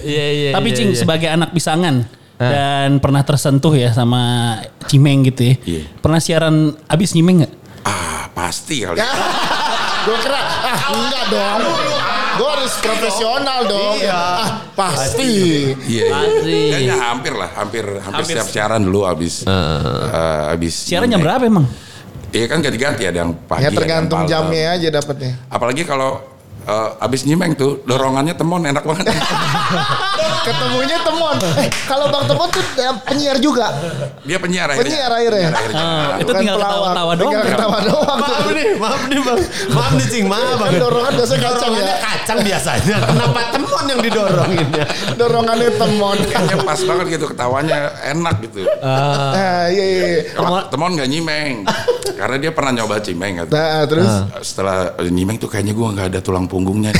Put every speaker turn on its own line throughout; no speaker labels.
Iya, iya,
Tapi
iya,
Cing
iya.
sebagai anak pisangan dan pernah tersentuh ya sama Cimeng gitu ya.
Iya.
Pernah siaran abis Cimeng nggak?
Ah, pasti kali.
Ya. Gue kira, ah enggak dong.
ah.
Gue harus profesional
Iya.
dong. Ah, pasti.
Iya, iya.
Pasti.
Kayaknya hampir lah, hampir hampir setiap siaran dulu habis eh, habis.
Siaran jam berapa emang?
Iya kan ganti-ganti ada yang
iya.
pagi. ada
Ya
yang
tergantung
Iya,
malam.
jamnya aja dapatnya.
Apalagi kalau eh, habis nyimeng tuh dorongannya temon enak banget.
Ketemunya temon. Eh, kalau Bang Temon tuh eh, penyiar juga.
Dia penyiar
Penyiar akhirnya.
akhirnya. Nah,
Itu tinggal ketawa-tawa doang.
Tinggal ketawa doang.
Maaf nih, maaf nih bang. Maaf nih Cing, maaf
Kan
bang.
dorongan biasanya kacang ya.
Dorongannya kacang biasanya. Kenapa temon yang didorongin ya?
Dorongannya temon.
Ah.
Kayaknya pas banget gitu ketawanya enak gitu.
Ah, iya, iya. iya.
Kalau temon nggak nyimeng, karena dia pernah nyoba cimeng. Gitu.
Nah, terus
Ah.
Setelah nyimeng tuh kayaknya gue nggak ada tulang punggungnya.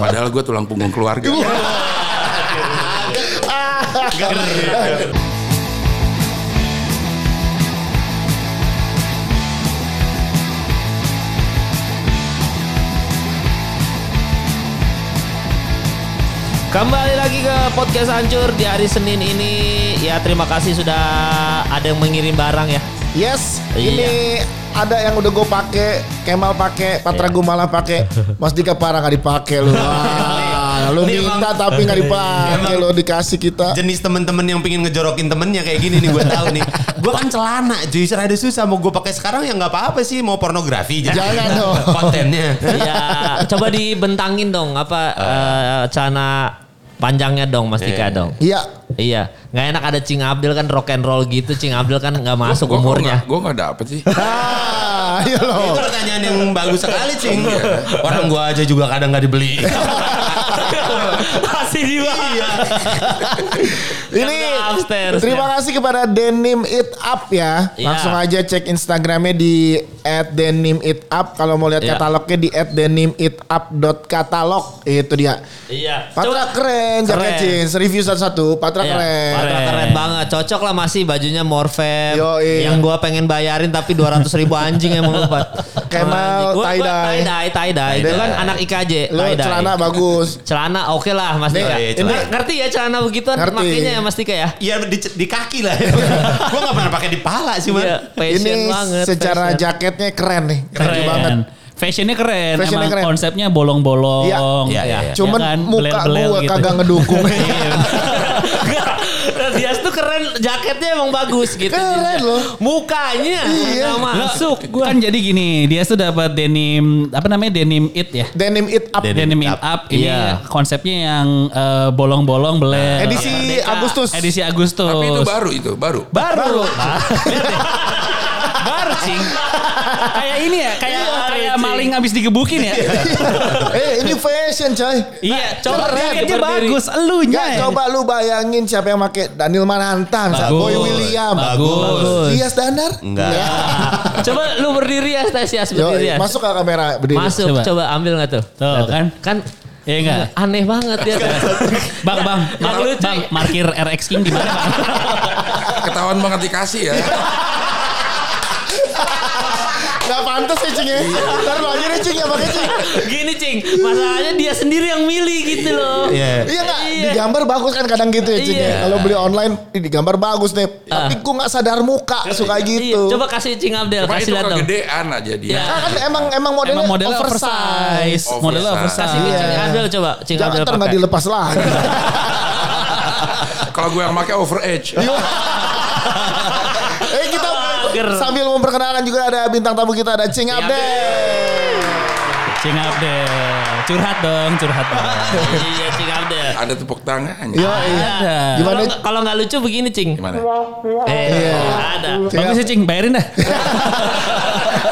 Padahal gue tulang punggung keluarga.
Kembali lagi ke podcast hancur di hari Senin ini. Ya terima kasih sudah ada yang mengirim barang ya.
Yes,
Iya.
ini ada yang udah gue pake, Kemal pake,
Iya.
Patra gue malah pake, Mas Dika parah nggak dipake lu. Wah, lu
Ini emang-
minta tapi nggak dipake,
Emang-
lu dikasih kita.
Jenis temen-temen yang pengen ngejorokin temennya kayak gini nih gue tahu nih. Gue kan celana, cuy. Rada susah mau gue pakai sekarang ya nggak apa-apa sih. Mau pornografi jadi
Jangan dong.
kontennya.
ya coba dibentangin dong apa eh, cana panjangnya dong Mas Dika dong.
Iya,
Iya, nggak enak ada Cing Abdul kan rock and roll gitu. Cing Abdul kan nggak masuk
Gua- gua
umurnya.
nggak- Gue nggak dapet sih.
ah, iya
Itu
loh.
pertanyaan yang bagus sekali, Cing.
Iya.
Orang gua aja juga kadang nggak dibeli.
Pasti juga.
Ini
Yang Kan udah upstairs,
terima
ya.
kasih kepada Denim It Up ya.
Iya.
Langsung aja cek Instagramnya di @denimitup. Kalau mau lihat
Iya.
katalognya di @denimitup.katalog itu dia.
Iya.
Patra keren,
Keren.
Jakarta Jeans. Review satu-satu. Patra
Iya,
keren.
Patra keren banget. Cocok lah masih bajunya Morfem.
Yoi.
Yang gua pengen bayarin tapi 200 ribu anjing emang lupa.
Kemal, tie-dye.
tie-dye. tie-dye. Itu kan anak IKJ.
Lu
tie-dye.
celana bagus.
Celana oke lah Mas
Nih,
Dika.
iya,
Ini
celana.
ngerti ya celana begituan
Ngerti.
makanya ya Mas Dika ya.
Iya di, di kaki lah. gua nggak pernah pakai di pala sih, man.
Iya,
Ini
fashion banget.
secara
fashion.
jaketnya keren nih. Keren,
Keren.
banget.
Fashionnya keren.
Fashionnya
Emang
keren.
konsepnya bolong-bolong.
Iya.
ya
Iya, iya.
Cuman
kan?
muka
Belel-belel
gua
gitu.
kagak ngedukung.
Iya. Enggak. Nah, Dias tuh keren, jaketnya emang bagus gitu.
Keren loh.
Mukanya
Iya.
nggak masuk.
Gua- Kan jadi gini, dia tuh dapat denim apa namanya denim it ya.
Denim It Up.
Denim it up ini
Iya.
konsepnya yang eh, bolong-bolong belel.
Edisi
Merdeka.
Agustus.
Edisi Agustus.
Tapi itu baru itu, baru.
baru. baru cing. Kayak ini ya, kayak
Iya,
kayak maling abis digebukin ya.
eh ini fashion coy.
iya, coba
Keren.
jaketnya
Berdiri.
bagus,
Iya.
elunya.
Nggak,
ya.
coba lu bayangin siapa yang make Daniel Manantan, Boy William, Iya,
Bagus.
Dias Danar.
Enggak.
Ya.
Coba lu berdiri ya, Stasias berdiri
Yoi,
ya.
masuk ke kamera berdiri.
Masuk,
Coba.
coba, ambil nggak tuh?
Tuh,
Nggak
kan?
Kan
Iya enggak?
aneh banget ya.
Bang, bang,
Yang
mar-
lucu.
bang, markir RX King di mana? Bang?
Ketahuan banget dikasih ya.
Gak pantas ya Cing ya.
Iya.
Ntar lu aja deh Cing ya pakai Cing.
Gini cing, masalahnya dia sendiri yang milih gitu loh.
Iya.
Iya nggak?
Iya.
Digambar bagus kan kadang gitu ya Cing ya.
Iya. Ah.
Kalau beli online ih, digambar bagus nih. Tapi gua gak sadar muka suka
Iya,
gitu.
Coba kasih cing Abdel,
Cuma
kasih
itu
lihat dong.
kegedean ya. aja dia.
Ah, kan emang emang modelnya,
Emang modelnya
oversize.
oversize, modelnya oversize.
Oversize.
Kasih ke cing
Iya.
Abdel coba, cing
Jangan
Abdel
ntar nggak
pakai.
dilepas lagi.
Kalau gue yang pakai over age.
Ya. eh kita
Mager.
sambil memperkenalkan juga ada bintang tamu kita ada Cing Abdel.
Cing Abdel. Curhat dong, curhat dong.
Iya, cing Abdel.
Ada tepuk tangan.
Yo, iya.
Ada.
Gimana? Iya.
Kalau- Kalau nggak lucu begini cing.
Gimana?
Eh, ada.
Cing
Bagus ya
Ab-
Cing, bayarin dah.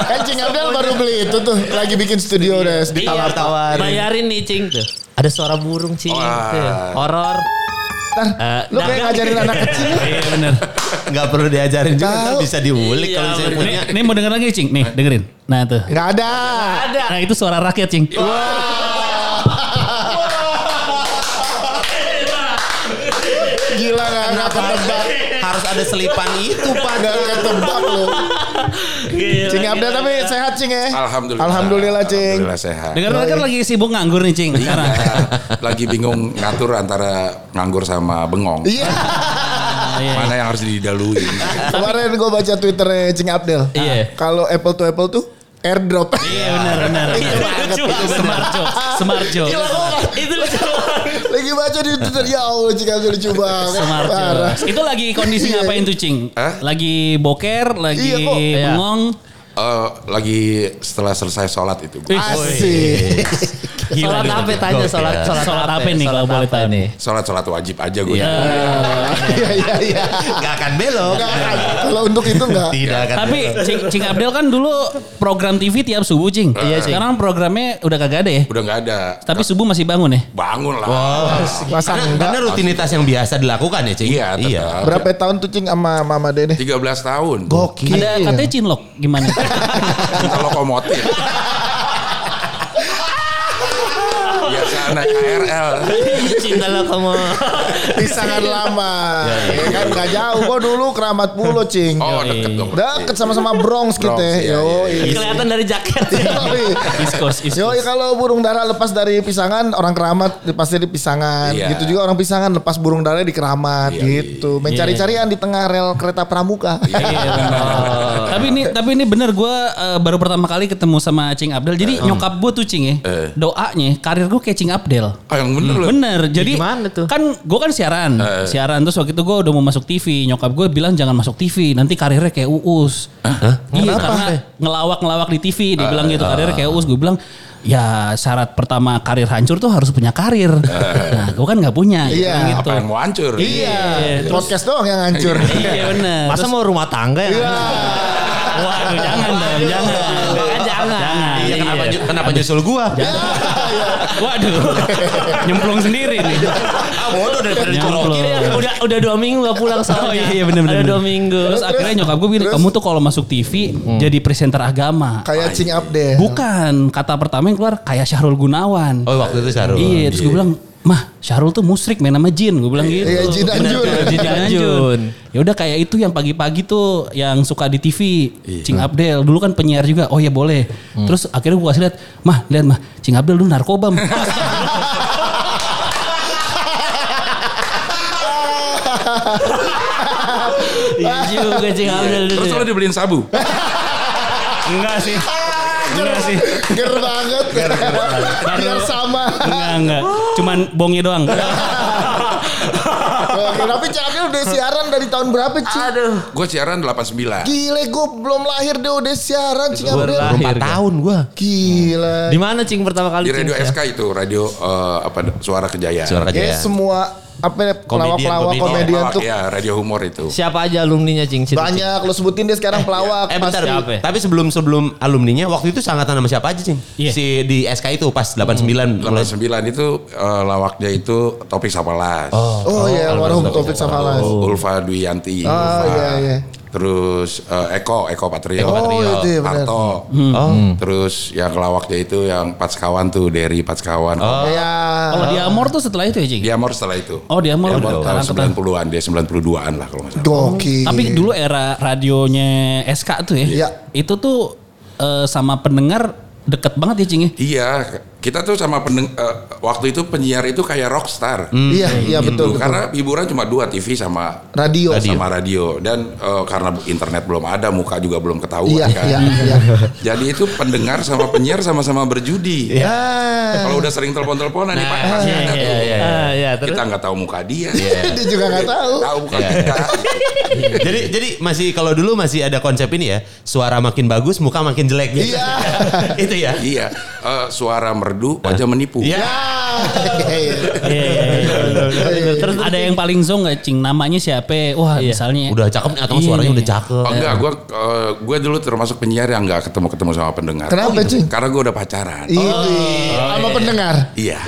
kan Cing Abdel baru beli itu tuh lagi bikin studio udah
Iya,
Ditawar-tawarin.
Bayarin nih cing tuh. Ada suara burung cing.
Wah.
Tuh, Horor. Eh,
Ntar, lu
nah,
kayak
kan-
ngajarin anak kecil.
Iya bener.
Nggak perlu diajarin juga.
Tahu.
ntar Bisa diulik
Iya,
kalau saya
bener.
punya.
Nih, nih mau denger lagi Cing, nih dengerin. Nah tuh.
Gak ada.
Ada. Oh,
Nah itu suara rakyat Cing.
Gila gak, gak ketebak.
Harus ada selipan itu, Pak.
Gak ketebak lu.
Gila,
Cing update
gila.
tapi sehat Cing ya.
Alhamdulillah.
Alhamdulillah Cing.
Alhamdulillah sehat.
Dengar dengar kan lagi sibuk nganggur nih
Iya,
Cing sekarang.
Lagi bingung ngatur antara nganggur sama bengong.
Iya.
Ah, iya.
Mana yang harus didahului.
Kemarin gue baca Twitternya Cing Abdel.
Iya.
Kalau apple to apple tuh airdrop.
Iya benar benar. Itu lucu. Semarjo. Semarjo. Itu lucu.
Lagi baca di Twitter ya Allah Cing Abdel lucu banget.
ya.
Semarjo.
Parah.
Itu lagi kondisi
Iya.
ngapain tuh Cing?
Hah?
Lagi boker, lagi
Iya, kok.
bengong.
Eh, lagi setelah selesai sholat itu. gua.
Asik.
Sholat
gitu.
apa tanya sholat sholat,
Sholat apa nih kalau
sholat
boleh
apa
tahu?
nih?
Sholat sholat wajib aja ya. gue.
Iya iya iya.
Gak akan belok.
Kalau untuk itu enggak.
Tidak akan
Tapi
belok.
Cing, Cing Abdel kan dulu program TV tiap subuh Cing.
Iya, Cing.
Sekarang programnya udah kagak ada ya.
Udah nggak ada.
Tapi subuh masih bangun ya.
Bangun lah.
Masa
Oh. karena,
enggak.
karena rutinitas yang biasa dilakukan ya Cing?
Iya, tetap.
Berapa tahun tuh Cing sama Mama Dede?
13 tahun.
Gokil.
Ada katanya cinlok gimana?
Kita lokomotif. Biasa naik KRL.
Iya.
Cinta lah kamu.
Pisangan lama. Ya kan enggak jauh. Gua dulu keramat pulo Cing.
Iya, Oh deket dong.
Deket sama-sama Bronx kita.
Bronx, iya,
Yo.
iya,
Kelihatan dari jaket.
East Coast, East
Yo,
Coast.
kalau burung dara lepas dari pisangan, orang keramat pasti di pisangan.
Iya.
Gitu juga orang pisangan lepas burung dara di keramat gitu. Mencari-carian di tengah rel kereta pramuka.
Iya.
Iya kan?
Oh.
tapi ini tapi ini bener gue baru pertama kali ketemu sama Cing Abdel. Jadi nyokap gue tuh Cing ya,
Eh.
doanya karir gue kayak Cing Abdel.
Oh yang bener loh.
Hmm.
Eh.
Bener, jadi
Gimana tuh?
kan gue kan siaran, siaran terus waktu itu gue udah mau masuk TV, nyokap gue bilang jangan masuk TV, nanti karirnya kayak uus. Iya karena ngelawak-ngelawak di TV,
Eh.
dia bilang gitu karirnya kayak uus. Gue bilang ya syarat pertama karir hancur tuh harus punya karir. Nah gue kan nggak punya,
Iya.
ya, gitu.
Eh. Apa yang mau hancur?
Iya, podcast doang yang hancur.
Iya bener.
Masa mau rumah tangga ya?
Iya.
Waduh, jangan dong, jangan.
Jangan, jangan.
Jangan.
Iya, kenapa,
Iya.
ju- kenapa nyusul gua?
Waduh, nyemplung sendiri nih.
Ah bodoh daripada
Nyemplung.
dicorokin.
Iya, Udah udah dua minggu gak pulang soalnya.
Oh iya, iya bener bener.
Ada dua
bener.
minggu. Hmm.
Terus akhirnya nyokap gue bilang,
Terus?
kamu tuh kalau masuk TV jadi presenter agama.
Kayak Cing Abdel.
Bukan, kata pertama yang keluar kayak Syahrul Gunawan.
Oh waktu itu Sarul.
Iya, terus gue bilang, mah Syahrul tuh musrik main sama Jin. Gue bilang gitu.
Iya, Jin Anjun.
Jin Anjun. Ya udah kayak itu yang pagi-pagi tuh yang suka di TV, Cing Abdel. Dulu kan penyiar juga. Oh ya boleh. Terus akhirnya gue kasih lihat, mah lihat mah Cing Abdel dulu narkoba. Mah."
Iya juga Cing Abdel dulu.
Terus lo dibeliin sabu.
Enggak sih. Enggak sih.
Ger banget. Biar sama.
Enggak, enggak. Cuman bongnya doang.
Oke, Tapi Cing Abdel udah siaran dari tahun berapa, Cing?
Aduh.
Gue siaran 89.
Gile, gue belum lahir deh udah siaran Cing Abdel.
lahir.
4 tahun gua.
Gila.
Di
Iya.
mana Cing pertama kali?
Di radio
ya.
Cing?
SK itu, radio eh, apa Suara Kejayaan.
Suara
Ya
aja.
semua apa ya, pelawak-pelawak
komedian.
komedian
Pelawak,
tuh
ya, radio humor itu.
Siapa aja alumninya Cing? Situ, Cing.
banyak lo sebutin deh sekarang pelawak.
Eh bentar,
Siapa ya?
tapi sebelum sebelum alumninya waktu itu sangatan sama siapa aja Cing?
Iya.
Si di SK itu pas 89 mulai
89 itu eh, lawaknya itu Topik Sapalas.
Oh iya, almarhum Taufik Safalas.
Oh, Ulfa Duyanti. Ulfa.
iya, iya.
Terus eh, Eko, Eko Patrio.
Eko Patrio. Oh, itu ya, benar.
Parto.
Hmm.
Terus yang lawaknya itu yang Patskawan tuh, Derry Patskawan.
Iya.
Kalau di Amor tuh setelah itu ya, Cing?
Dia mor setelah itu.
Oh, dia Amor
Mor
udah
Iya, tahun
sekarang ketemu.
90-an, dia 92-an lah kalau nggak salah.
Gokil.
Tapi dulu era radionya SK tuh ya.
Iya.
Itu tuh eh, sama pendengar deket banget ya Cing ya.
Iya, kita tuh sama pendeng eh, waktu itu penyiar itu kayak rockstar.
Iya, iya
Gitu.
betul. betul.
Karena hiburan cuma dua TV sama
Radio.
sama radio dan eh, karena internet belum ada, muka juga belum ketahuan
Iya,
kan.
iya, iya.
Jadi itu pendengar sama penyiar sama-sama berjudi.
Ya.
Kalau udah sering telepon-teleponan nih Pak,
Nah,
pasti
iya,
iya,
ada tuh.
Ah, ya, terus.
Kita nggak tahu muka dia.
Dia juga Iya. nggak tahu. Iya.
Tahu muka kita.
Gitu. jadi jadi masih kalau dulu masih ada konsep ini ya suara makin bagus muka makin jelek gitu.
Iya.
itu ya
iya, eh, suara merdu wajah menipu.
Iya.
Iya, iya, iya. Ada yang paling zong gak Cing? Namanya siapa? Wah misalnya.
udah cakep nih atau
Iya,
suaranya
nih.
udah cakep
Oh, enggak, gue gue dulu termasuk penyiar yang nggak ketemu-ketemu sama pendengar. Iya.
Kenapa, Cing?
Karena gue udah pacaran.
Iya. Ini sama pendengar.
Iya.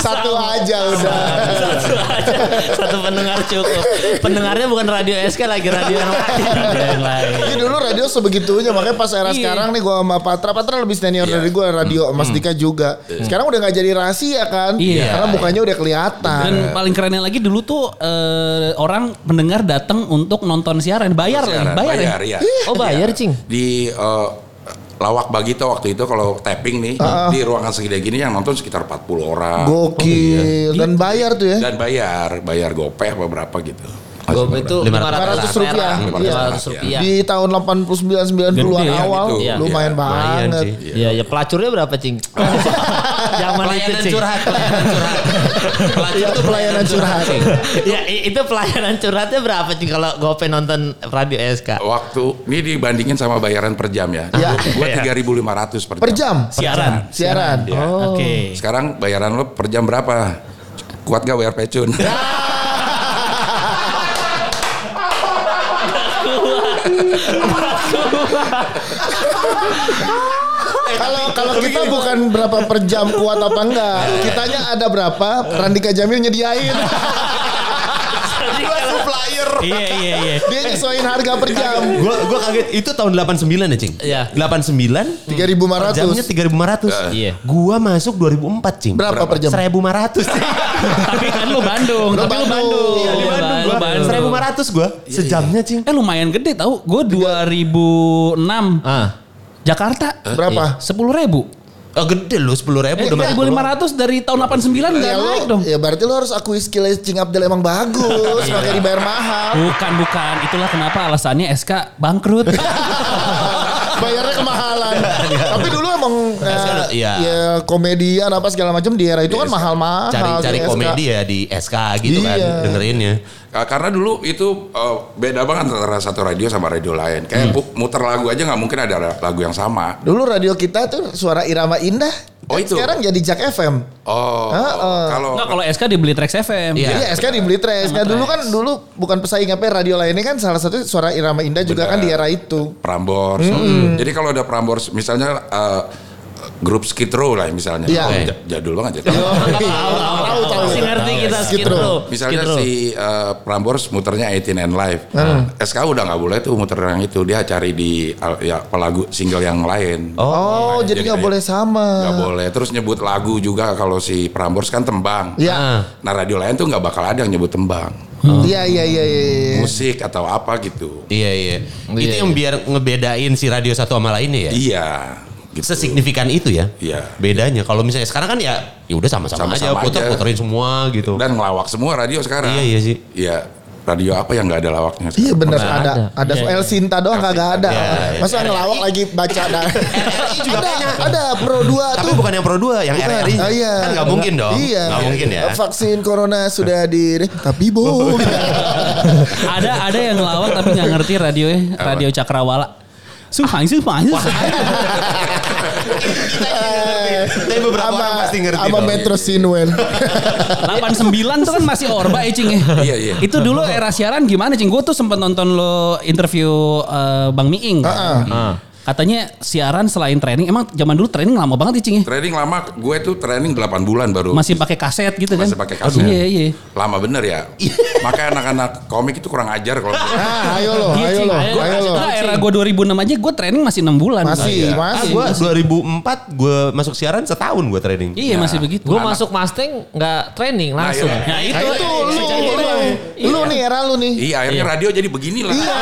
Satu aja udah.
satu aja satu pendengar cukup pendengarnya bukan radio SK lagi radio yang lain
yang lain.
Ini dulu radio sebegitunya makanya pas era sekarang nih gua sama Patra Patra lebih senior dari gua radio Mas Dika juga. Sekarang udah nggak jadi rahasia kan?
Iya.
Karena mukanya udah kelihatan.
Dan paling kerennya lagi dulu tuh eh, orang pendengar datang untuk nonton siaran, bayar
Siaran,
lagi, bayar,
bayar,
ya.
iya.
oh bayar cing
di eh, lawak Bagito waktu itu kalau tapping nih di ruangan segede gini yang nonton sekitar 40 orang
Gokil dan bayar tuh ya.
dan bayar bayar gopeh apa berapa gitu.
gue itu
500 rupiah.
lima
Iya.
ratus rupiah
Di tahun 89 90-an
Gede ya
awal
gitu.
lumayan
Lumayan
banget.
sih.
Iya, ya pelacurnya berapa cing? Zaman itu
Pelayanan
cing.
curhat, pelayanan curhat. Pelacur
Iya,
tuh
pelayanan curhat.
Cing.
ya i- itu pelayanan curhatnya berapa cing kalau gope nonton radio SK?
Oh, Waktu ini dibandingin sama bayaran per jam ya.
Iya.
Gua 3.500 per jam.
Per jam
Siaran.
siaran. Oh.
Oh.
Oke.
Sekarang bayaran lo per jam berapa? Kuat gak bayar pecun?
Kalau kalau kita bukan berapa per jam kuat apa enggak. Kitanya ada berapa? Randika Jamil nyediain.
Gua supplier.
Iya iya iya.
Dia nyesuaiin harga per jam.
Gua gua kaget itu tahun 89 ya, Cing.
Iya.
89 jamnya
3500.
3500.
Iya.
Gua masuk 2004, Cing.
Berapa per jam?
1500. Cing.
tapi kan lu Bandung,
Lu
tapi lu
Bandung.
Bandung.
Iya, di
Lu
Bandung
Bandung,
gua.
Bandung.
1500 gua sejamnya, Cing.
Eh lumayan gede tau. Gue 2006.
Ah.
Jakarta. Iya.
Berapa?
Sepuluh ribu.
Oh, gede loh 10.000
Eh,
udah masuk.
1500 dari tahun 89 nggak
Ya
naik
lu,
dong.
ya berarti lu harus akui skill Cing Abdel emang bagus, makanya dibayar mahal.
Bukan, bukan. Itulah kenapa alasannya SK bangkrut.
Bayarnya kemahalan. Tapi dulu emang eh,
Iya.
ya komedian apa segala macam di era itu kan mahal-mahal. di
Cari-cari
SK.
komedi ya di SK gitu kan
Iya.
dengerinnya.
Ka- Karena dulu itu eh, beda banget antara satu radio sama radio lain. Kayak pu- muter lagu aja nggak mungkin ada ra- lagu yang sama.
Dulu radio kita tuh suara irama indah.
Oh,
Kan
itu.
Sekarang jadi Jack FM.
Oh, kalau
Nggak, kalau SK dibeli Trax FM.
Iya.
Jadi SK dibeli Trax. Nah dulu kan dulu bukan pesaing apa radio lainnya kan salah satu suara irama indah juga kan di era itu.
Prambors. Jadi kalau ada Prambors misalnya eh, grup Skid Row lah misalnya.
Iya.
Oh,
Oke.
ja- jadul banget
Yo,
ya.
Tahu tahu.
Masih ngerti kita
Skid
skid row.
Misalnya
Skid row.
si eh, Prambors muternya 18 and Live. SK udah nggak boleh tuh muter yang itu. Dia cari di al- ya apa lagu single yang lain.
Oh,
Iya,
jadi nggak boleh sama.
Nggak boleh. Terus nyebut lagu juga kalau si Prambors kan tembang.
Iya.
Ya.
Ah,
Nah radio lain tuh nggak bakal ada yang nyebut tembang.
Iya iya iya iya.
Musik atau apa gitu.
Iya iya. Itu
Iya,
yang biar ngebedain si radio satu sama lainnya ya.
Iya. Gitu.
Sesignifikan itu ya.
Iya.
Bedanya kalau misalnya sekarang kan ya ya udah sama-sama aja
Sama-sama aja.
puter-puterin semua gitu.
Nah,
Dan ngelawak semua radio sekarang.
Iya, iya sih.
Iya. Radio apa yang nggak ada lawaknya?
Iya benar ada ada,
Iya,
El Sinta doang kagak ada.
Iya, iya.
Masa ngelawak lagi baca ada.
juga
ada,
kayaknya.
ada Pro 2
Tapi
tuh.
bukan yang Pro 2, yang
Bukan.
RRI.
Ah, iya.
Kan nggak mungkin dong.
Iya.
Nggak mungkin ya.
Vaksin corona sudah di tapi bohong.
ada ada yang ngelawak tapi nggak ngerti radio ya radio Cakrawala sumpah sumpah
Tapi beberapa
Sama-
orang pasti ngerti
Sama
dong.
Metro Sinwen.
89 tuh kan masih orba ya Cing ya.
Iya, iya.
Itu dulu era siaran gimana Cing? Gue tuh sempat nonton lo interview eh, Bang Miing. kan?
Heeh.
Katanya siaran selain training, emang zaman dulu training lama banget ya Cing ya?
Training lama, gue tuh training 8 bulan baru.
Masih pakai kaset gitu kan?
Masih pakai kaset.
Iya iya.
Lama bener ya. Makanya anak-anak komik itu kurang ajar kalau
Ah, ayo lo,
Iya,
ayo
Cing.
lo,
Ayo,
ayo lo.
Nah, era gue 2006 aja gue training masih 6 bulan.
Masih,
Ah,
Iya, masih. Nah,
gue 2004 gue masuk siaran setahun gue training.
Iya masih begitu.
Gue Nah, masuk Mustang nggak training langsung.
iya.
Nah itu,
Nah, itu lu,
itu,
Iya.
lu, lu nih era lu nih.
Iya, akhirnya radio jadi beginilah.
Iya.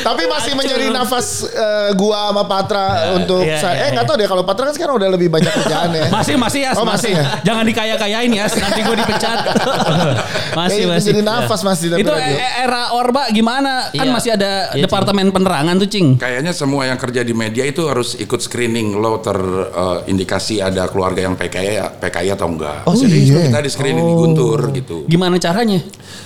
Tapi masih menjadi nafas eh, gua sama Patra untuk
iya,
saya.
iya,
eh nggak tahu deh kalau Patra kan sekarang udah lebih banyak kerjaan ya.
Masih masih ya,
Oh,
masih.
masih ya?
Jangan dikaya-kayain ya, nanti gue dipecat. masih
Eh,
masih. Iya.
menjadi nafas ya. masih tapi
Itu
radio.
e- era Orba gimana? Kan
Iya.
masih ada
Iya,
departemen penerangan tuh, Cing.
Kayaknya semua yang kerja di media itu harus ikut screening lo terindikasi ada keluarga yang E, PKI PKI atau enggak.
Oh,
Jadi
iya.
kita di screening di Guntur gitu.
Gimana caranya?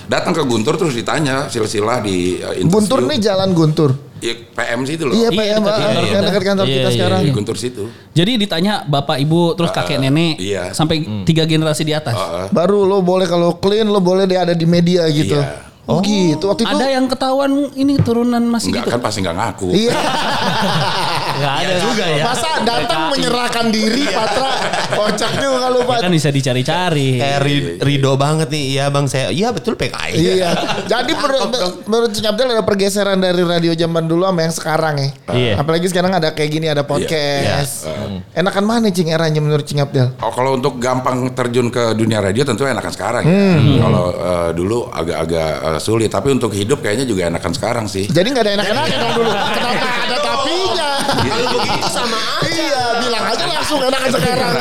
Datang ke Guntur terus ditanya silsilah di eh, interview.
Guntur nih jalan Guntur.
Ya, PM situ loh.
Iya,
Iya,
Pak, ya,
dekat
Pak.
kantor
Yang
kita.
dekat kantor
Iya,
kita
iya,
sekarang.
Di Guntur situ.
Jadi ditanya bapak ibu terus kakek nenek
iya.
sampai tiga generasi di atas.
Eh, Baru lo boleh kalau clean lo boleh dia ada di media gitu.
Iya.
Oh, gitu. Waktu itu
Ada ya? yang ketahuan ini turunan masih
Enggak
gitu.
kan pasti enggak ngaku.
Iya.
Gak ada juga ya.
Masa datang menyerahkan diri Patra kocak juga lu
Ya
Pak.
kan bisa dicari-cari.
Kayak ri- Rido banget nih. Iya bang saya. Iya betul PKI.
Iya. Jadi menurut menurut Cing Abdel ada pergeseran dari radio zaman dulu sama yang sekarang ya.
Iya.
Apalagi sekarang ada kayak gini ada podcast. Enakan mana Cing eranya menurut Cing Abdel?
Oh, kalau untuk gampang terjun ke dunia radio tentu enakan sekarang ya.
Hmm.
Kalau eh, dulu agak-agak eh, sulit, tapi untuk hidup kayaknya juga enakan sekarang sih.
Jadi nggak ada enak-enaknya dong dulu. Kenapa ada tapinya? Kalau begitu sama aja. Iya, bilang aja langsung enakan sekarang.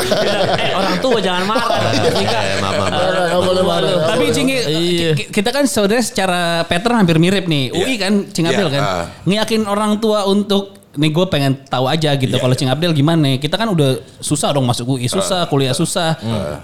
Eh, orang tua jangan marah. Nikah.
Eh, maaf, maaf, maaf.
Nggak boleh marah.
Tapi Cingi,
Iya.
ki- kita kan saudara secara pattern hampir mirip nih. UI kan Cing Abdel
Iya,
kan.
ah.
Ngiyakin orang tua untuk nih gue pengen tahu aja
Iya.
gitu kalau Cing Abdel gimana. Kita kan udah susah dong masuk UI,
Ah.
susah kuliah susah.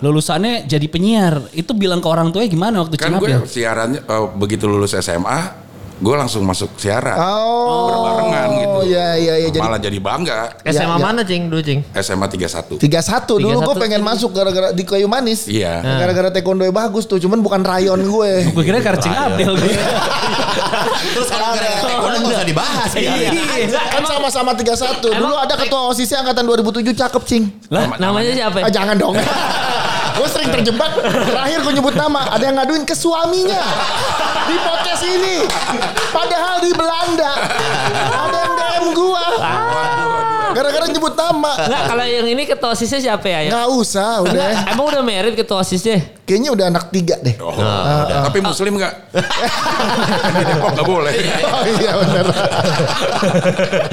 Lulusannya jadi penyiar. Itu bilang ke orang tuanya gimana waktu Cing
Kan
ya?
gue
Abdel?
siarannya eh, begitu lulus SMA, gue langsung masuk siaran.
Oh,
Berbarengan gitu.
iya iya iya jadi
Malah jadi bangga.
Iya,
Ya,
SMA
ya.
mana cing dulu cing?
SMA 31.
31 dulu gue
31.
pengen masuk gara-gara di kayu manis. Nah,
Iya.
Gara-gara taekwondo bagus tuh, cuman bukan rayon gue.
Gue kira karena
Iya.
Cing Abdel.
Terus kalau gara-gara ekonomi nggak usah dibahas. Iya.
kan sama-sama 31. Dulu ada ketua OSIS angkatan 2007 cakep, Cing.
Lah, namanya siapa?
ya?
Ah, jangan dong. gue sering terjebak. Terakhir gue nyebut nama. Ada yang ngaduin ke suaminya. Di podcast ini. Padahal di Belanda. Ada yang DM gua. Gara-gara nyebut nama.
Enggak, kalau yang ini ketua osisnya siapa ya? ya?
Nggak usah, udah.
Emang udah merit ketua osisnya?
Kayaknya udah anak tiga deh.
Oh, Tapi muslim nggak? Di Depok nggak boleh.
Oh Ah. iya bener.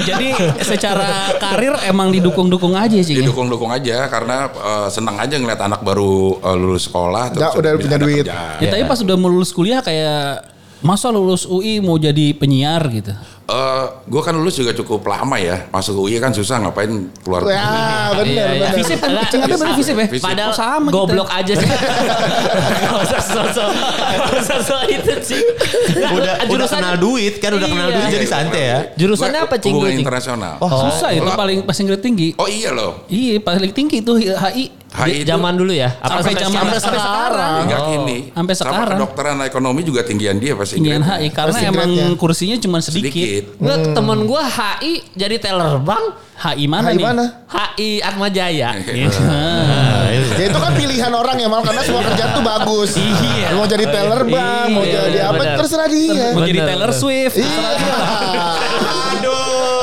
Jadi secara karir emang didukung-dukung aja Cing. ya?
Didukung-dukung aja karena eh, senang aja ngeliat anak baru eh, lulus sekolah.
Nggak, udah punya
ada
duit.
kerjaan.
Ya, tapi pas udah mau lulus kuliah kayak masa lulus UI mau jadi penyiar gitu.
Eh, gue kan lulus juga cukup lama ya. Masuk UI kan susah ngapain keluar.
Ya bener bener.
Visip kan Cing Abdel bener visip ya.
Visip.
Padahal
Oh, sama kita.
goblok aja sih. Gak usah sosok. Gak usah sosok itu sih.
Udah, udah kenal duit kan udah kenal
Iya.
duit jadi santai ya.
Jurusannya apa, Cing,
Hubungan
dulu, Cing?
internasional.
Wah
Oh.
susah itu paling pas Inggris tinggi.
Oh iya loh.
Iya paling tinggi itu HI.
HI itu
Zaman dulu ya? Apa
Sampai zaman
sekarang?
sampai sekarang.
hingga kini.
Oh,
Sampai sekarang.
Sama kedokteran ekonomi juga tinggian dia pas
Tinggian
Inggris.
HI karena
Secret
emang
ya.
kursinya cuma sedikit.
Sedikit.
Nggak, temen gue HI jadi teller bang.
HI mana
Hai
nih?
mana?
HI Atma Jaya.
Ya itu kan pilihan orang ya mal karena semua kerjaan tuh bagus.
Iya.
Mau jadi teller bang, mau
Iya,
jadi apa
benar.
terserah dia.
Mau jadi
Bener,
Taylor
bener.
Swift.
Iya.
Aduh,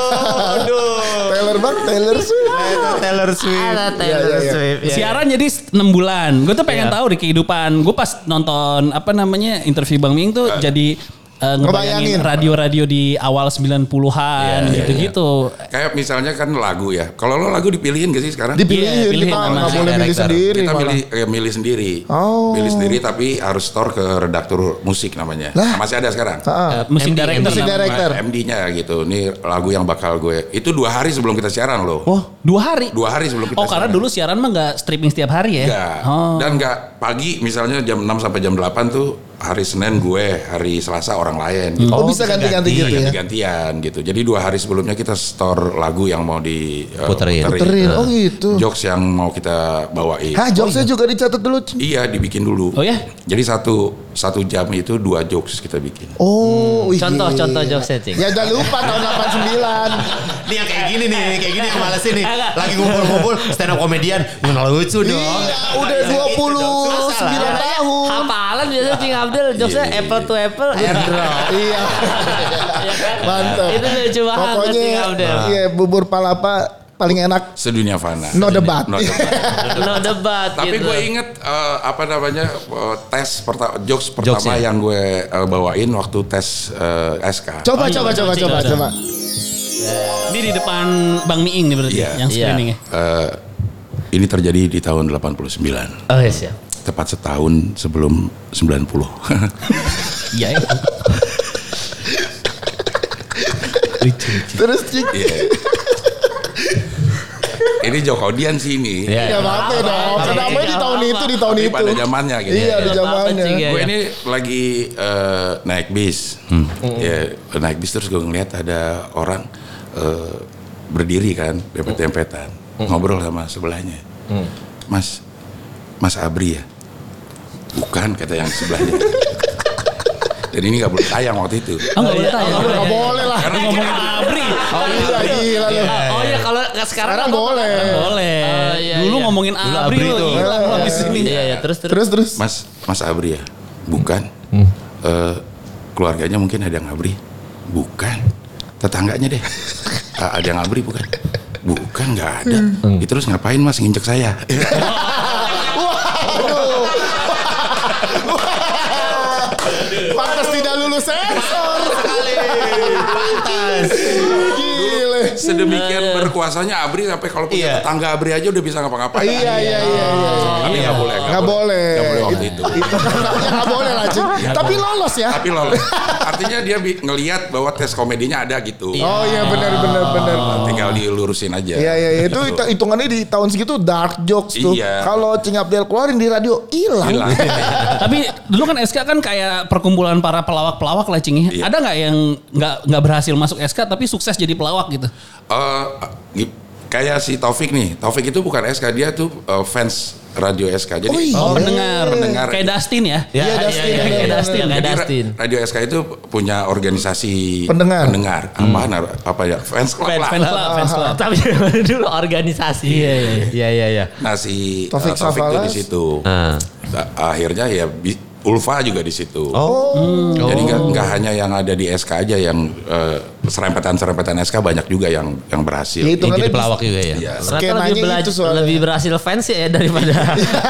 aduh.
Teller bang, teller sih.
Itu Taylor Swift.
Ada
Iya,
Taylor
iya, iya.
Swift. ya.
Siaran jadi 6 bulan. Gue tuh pengen tahu di kehidupan. Gue pas nonton apa namanya interview Bang Ming tuh jadi eh, ngebayangin
Ngebayangin.
radio-radio di awal 90-an gitu-gitu.
Kayak misalnya kan lagu ya. Kalau lo lagu dipilihin gak sih sekarang?
Dipilihin
Iya, pilihin
kita
sama
nggak
si
boleh milih
director.
sendiri
Kita
malah.
milih, eh, milih sendiri.
Oh.
Milih sendiri tapi harus store ke redaktur musik namanya.
Lah.
Masih ada sekarang.
Heeh.
Eh, Musik
MD,
director. namanya.
Musik Ah, director.
MD-nya gitu. Ini lagu yang bakal gue. Itu dua hari sebelum kita siaran loh.
Oh, dua hari.
Dua hari sebelum kita
Oh,
Iya.
karena
siaran.
dulu siaran mah nggak streaming setiap hari ya?
Enggak.
Oh.
Dan enggak pagi misalnya jam 6 sampai jam 8 tuh hari Senin gue, hari Selasa orang lain gitu.
Oh bisa ganti-ganti
ganti.
gitu ya.
Gantian
iya.
gitu. Jadi dua hari sebelumnya kita store lagu yang mau di eh,
Puterin.
Terin. Oh gitu.
Jokes yang mau kita bawain.
Hah, jokesnya juga dicatat dulu. Cing.
Iya dibikin dulu.
Oh ya?
Jadi satu satu jam itu dua jokes kita bikin.
Oh, wih,
Contoh,
gila.
contoh jokesnya, Cing.
Ya jangan lupa tahun 89.
Ini yang kayak gini nih, kayak gini yang males ini. Lagi ngumpul-ngumpul stand up komedian, nggak lucu dong.
Iya, udah
Salah.
29 tahun.
Hafalan biasanya Cing Abdel. Jokesnya
Iya, iya,
apple to apple, eh, airdrop.
Iya.
Iya kan?
Mantap.
Itu lucu banget ya,
Pokoknya
Cing Abdel.
iya bubur palapa paling enak
Sedunia fana.
No debat.
No debat.
No debat
Tapi
gitu.
gue inget eh, apa namanya eh, tes pertama jokes pertama
Jokes ya?
yang gue eh, bawain waktu tes eh, SK.
Oh, iya,
Coba coba coba coba coba.
Ini di depan Bang Miing nih berarti
Iya.
yang streaming ya.
Eh, ini terjadi di tahun 89.
Oh iya siap.
Tepat setahun sebelum 90.
Iya ya.
Terus Cing.
Iya. ini Jokodian sih ini.
Ya apa-apa
Iya,
dong.
Apa-apa,
Kenapa
Cing,
di tahun
apa-apa.
itu di tahun
Tapi
itu?
pada zamannya gitu.
Iya, di
Apa-apa,
zamannya.
Cing, ya.
iya.
Gue ini lagi eh, naik bis, ya naik bis terus gue ngeliat ada orang eh, berdiri kan dempet dempetan ngobrol sama sebelahnya, Mas, Mas Abri ya, bukan kata yang sebelahnya, Dan ini nggak boleh tayang waktu itu.
Oh, nggak boleh tayang.
Nggak boleh lah.
Karena ngomong abri.
Oh, gila, gila lu.
Oh iya kalau sekarang,
Sekarang
aku-
boleh.
Boleh.
Oh, iya,
Dulu
iya.
ngomongin abri
abri
lu.
tuh.
Gila lu habis ini.
Iya iya terus terus.
Terus terus.
Mas Mas Abri ya? Bukan. Eh, keluarganya mungkin ada yang Abri? Bukan. Tetangganya deh. Ah, ada yang Abri bukan? Bukan nggak ada. Itu terus ngapain Mas nginjek saya?
Waduh. Pantas tidak lulus sensor.
Pantas.
Gile.
Sedemikian berkuasanya Abri sampai kalau punya
Iya.
tetangga Abri aja udah bisa ngapa-ngapain.
Iya iya iya iya.
Tapi nggak boleh.
Nggak boleh.
Nggak boleh Iya. waktu itu.
Itu namanya nggak boleh lah Cing. Tapi lolos ya.
Tapi lolos. Artinya dia bi- ngelihat bahwa tes komedinya ada gitu.
Oh iya Oh, benar benar benar.
Tinggal dilurusin aja.
Iya iya iya. itu
Gitu.
hit- hitungannya di tahun segitu dark jokes tuh.
Iya.
Kalau Cing Abdel keluarin di radio hilang.
Hilang.
Tapi dulu kan SK kan kayak perkumpulan para pelawak-pelawak lah Cing. ya.
Iya.
Ada nggak yang nggak nggak berhasil masuk SK tapi sukses jadi pelawak gitu?
Eh, gi- kayak si Taufik nih. Taufik itu bukan SK, dia tuh eh, fans radio SK. Jadi
Oh, iya.
Oh, pendengar,
Pendengar.
Kayak Dustin ya?
Iya
Iya, Dustin,
iya,
benar,
Kayak
benar.
Dustin kayak
jadi ra-
Dustin.
radio SK itu punya organisasi
Pendengar. Hmm.
Apaan? apa ya fans club
Fans
lah.
fans club fans club. Ah, Tapi dulu organisasi.
Iya, iya,
iya iya iya.
Nah si eh,
Taufik
Taufik, tuh
Safalas.
di situ.
Ah.
Nah, Akhirnya ya bi- Ulfa juga di situ.
Oh.
Oh.
Jadi nggak nggak hanya yang ada di SK aja yang eh, serempetan-serempetan SK banyak juga yang yang berhasil.
Ya,
Yang jadi
hitungannya
pelawak juga ya.
Iya.
Ternyata lebih,
Skenanya
bela-
itu soalnya.
lebih berhasil fans ya daripada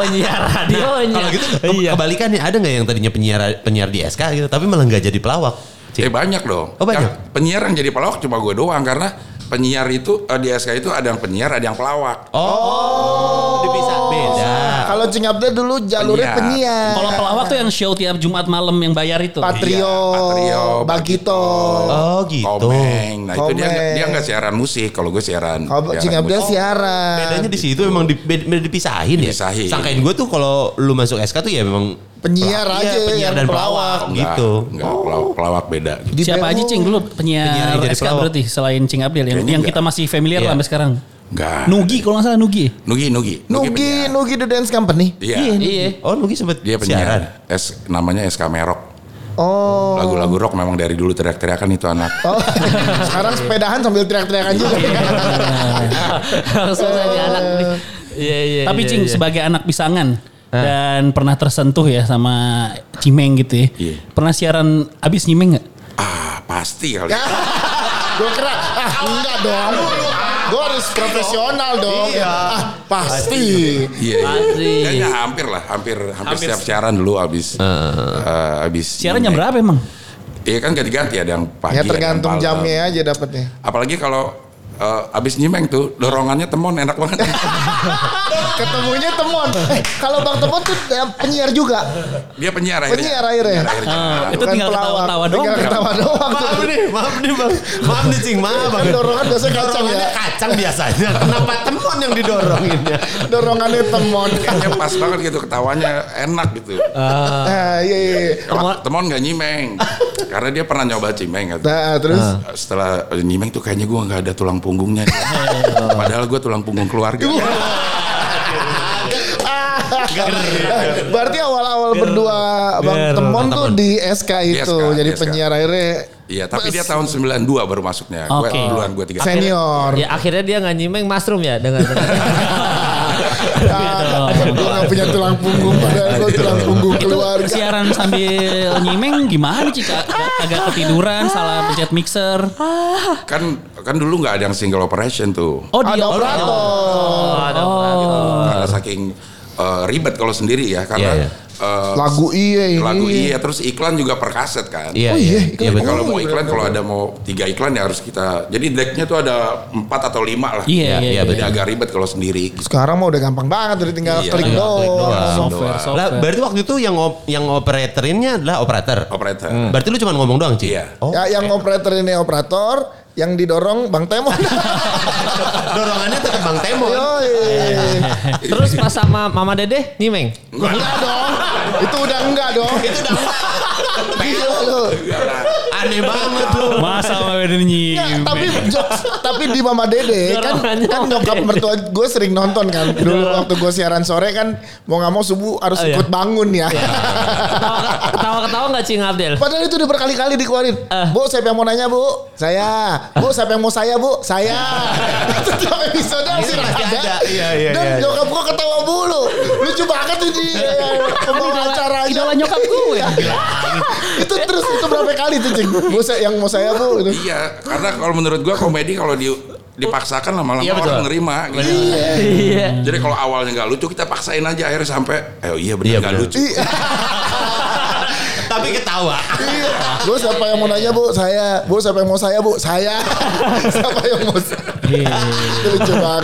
penyiar radionya.
Kalau gitu ke- kebalikan nih ada nggak yang tadinya penyiar penyiar di SK gitu tapi malah nggak jadi pelawak?
Eh banyak dong.
Oh, banyak?
Yang penyiar yang jadi pelawak cuma gue doang karena penyiar itu eh, di SK itu ada yang penyiar, ada yang pelawak.
Oh, bisa beda.
Kalau Cing Abdel dulu jalurnya
Penyiar.
penyiar.
Kalau pelawak tuh yang show tiap Jumat malam yang bayar itu.
Patrio,
Iya, Patrio,
Bagito.
Oh gitu.
Komeng. Nah itu dia
Komeng.
dia nggak siaran musik, kalau gue siaran.
Kalau
siaran
Cing Abdel
musik.
siaran.
Bedanya di situ emang di, bed- beda dipisahin,
Dipisahin.
ya. Sangkain gue tuh kalau lu masuk SK tuh ya memang
Penyiar
pelawak-
aja
iya, penyiar
yang
dan
pelawak.
pelawak,
Oh, enggak,
gitu.
Enggak, pelawak, pelawak beda. gitu.
Di
Siapa
BO.
aja Cing
Oh.
dulu penyiar,
Penyiar yang jadi
SK
pelawak.
berarti selain Cing Abdel yang,
Kayaknya
yang
enggak.
kita masih familiar
Iya.
lah sampai sekarang.
Enggak.
Nugi kalau nggak salah Nugi.
Nugi, Nugi.
Nugi,
penyiar.
Nugi The Dance Company.
Iya.
Iya.
Oh, Nugi sempet
Dia penyiar. S, namanya SK Merok.
Oh.
Lagu-lagu rock memang dari dulu teriak-teriakan itu anak.
Oh, sekarang sepedahan sambil teriak-teriakan juga.
Langsung saja anak nih. Iya iya.
Tapi
iya,
Cing
iya.
sebagai anak pisangan dan pernah tersentuh ya sama Cimeng gitu ya.
Iya.
Pernah siaran abis Cimeng nggak?
Ah, pasti
Ya.
kali.
Gue kira, ah enggak dong. Gue harus profesional dong. Ah, pasti.
Iya, iya.
Pasti.
Kayaknya hampir lah, hampir hampir setiap siaran dulu habis eh, habis.
Siaran jam berapa emang?
Iya kan ganti-ganti ada yang pagi. ada
Ya
yang
tergantung
malam.
jamnya aja dapatnya.
Apalagi kalau eh, abis nyimeng tuh dorongannya temon enak banget.
Ketemunya temon. Eh, kalau Bang Temon tuh eh, penyiar juga.
Dia penyiar akhirnya. Nah,
Penyiar akhirnya.
Ah, itu
Bukan
tinggal ketawa-tawa doang.
Tinggal ketawa doang. tuh.
Maaf nih, maaf nih bang. Maaf nih Cing, maaf
Kan
banget.
dorongan biasanya kacang
Dorongannya
ya.
kacang biasanya. Kenapa temon yang didorongin ya?
Dorongannya temon.
Kayaknya pas banget gitu ketawanya enak gitu.
Ah, iya, iya. iya.
Temon, temon gak nyimeng. Karena dia pernah nyoba cimeng. Gitu.
Nah, terus.
Setelah nyimeng tuh kayaknya gue gak ada tulang punggungnya. Padahal gue tulang punggung keluarga.
Ah. Eh, Berarti awal-awal berdua Bang Temon tuh di SK itu
Di SK,
jadi
di SK.
penyiar akhirnya
Iya, tapi dia tahun 92 baru masuknya. Gue
Oke.
duluan, gue tiga.
senior.
Ya akhirnya dia nggak nyimeng mushroom ya dengan.
gue gak punya tulang punggung padahal gue tulang punggung keluarga.
Siaran sambil nyimeng gimana Cing? Ag- Agak ketiduran, salah pencet mixer.
Kan kan dulu nggak ada yang single operation tuh.
Oh di
Ada
Oh.
operator.
Oh,
Karena saking eh, ribet kalau sendiri ya, karena
Iya, iya.
eh,
Lagu iya ini.
lagu iya terus iklan juga per kaset kan.
Iya,
Oh iya,
iya,
iklan
iya
juga.
betul.
Kalau mau iklan kalau ada mau tiga iklan ya harus kita. Jadi decknya tuh ada empat atau lima lah.
Iya, iya,
iya,
Jadi
betul.
agak ribet kalau sendiri.
Sekarang mah udah gampang banget udah tinggal
Iya,
klik
iya,
doang.
software, software.
Lah, berarti waktu itu yang op- yang operatorinnya adalah operator.
Operator.
Hmm.
Hmm. Berarti lu cuma ngomong doang, Cing?
Iya.
Oh.
Ya, yang operator ini operator, Yang didorong Bang Temon.
Dorongannya tetap Bang Temon.
Yoi.
Terus pas sama Mama Dede nyimeng.
Enggak dong. Itu udah enggak dong. Iya Itu udah Gila lu.
Aneh banget lu.
Masa sama Beden nyi.
Enggak, Iya, Ya, tapi jokes- tapi di Mama Dede kan
Dorongannya
kan
Mama
nyokap
Dede.
mertua gue sering nonton kan dulu waktu gue siaran sore kan mau nggak mau subuh harus
Oh, iya.
ikut bangun ya.
Ketawa-ketawa nggak Cing Abdel?
Padahal itu udah berkali-kali dikeluarin.
Eh.
Bu, siapa yang mau nanya, Bu? Saya. Bu, siapa yang mau saya, Bu? Saya.
Iya.
Setiap episode masih
pasti
ada.
ada. Iya, iya,
Dan
iya.
nyokap gua ketawa mulu. Lucu banget tuh di pembawa acara aja.
Idola nyokap gue.
itu terus itu berapa kali tuh, Cing? Bu, saya- yang mau saya, Bu. Gitu.
Iya, karena kalau menurut gua komedi kalau di dipaksakan lama-lama
Iya, betul.
orang nerima gitu.
Iya.
Jadi kalau awalnya nggak lucu kita paksain aja akhirnya sampai eh iya benar
Iya,
nggak
benar.
lucu.
Tapi ketawa.
Iya. Bu, siapa yang mau nanya, Bu? Saya. Bu, siapa yang mau saya, Bu? Saya. siapa yang mau saya?
Iya.
Itu lucu banget.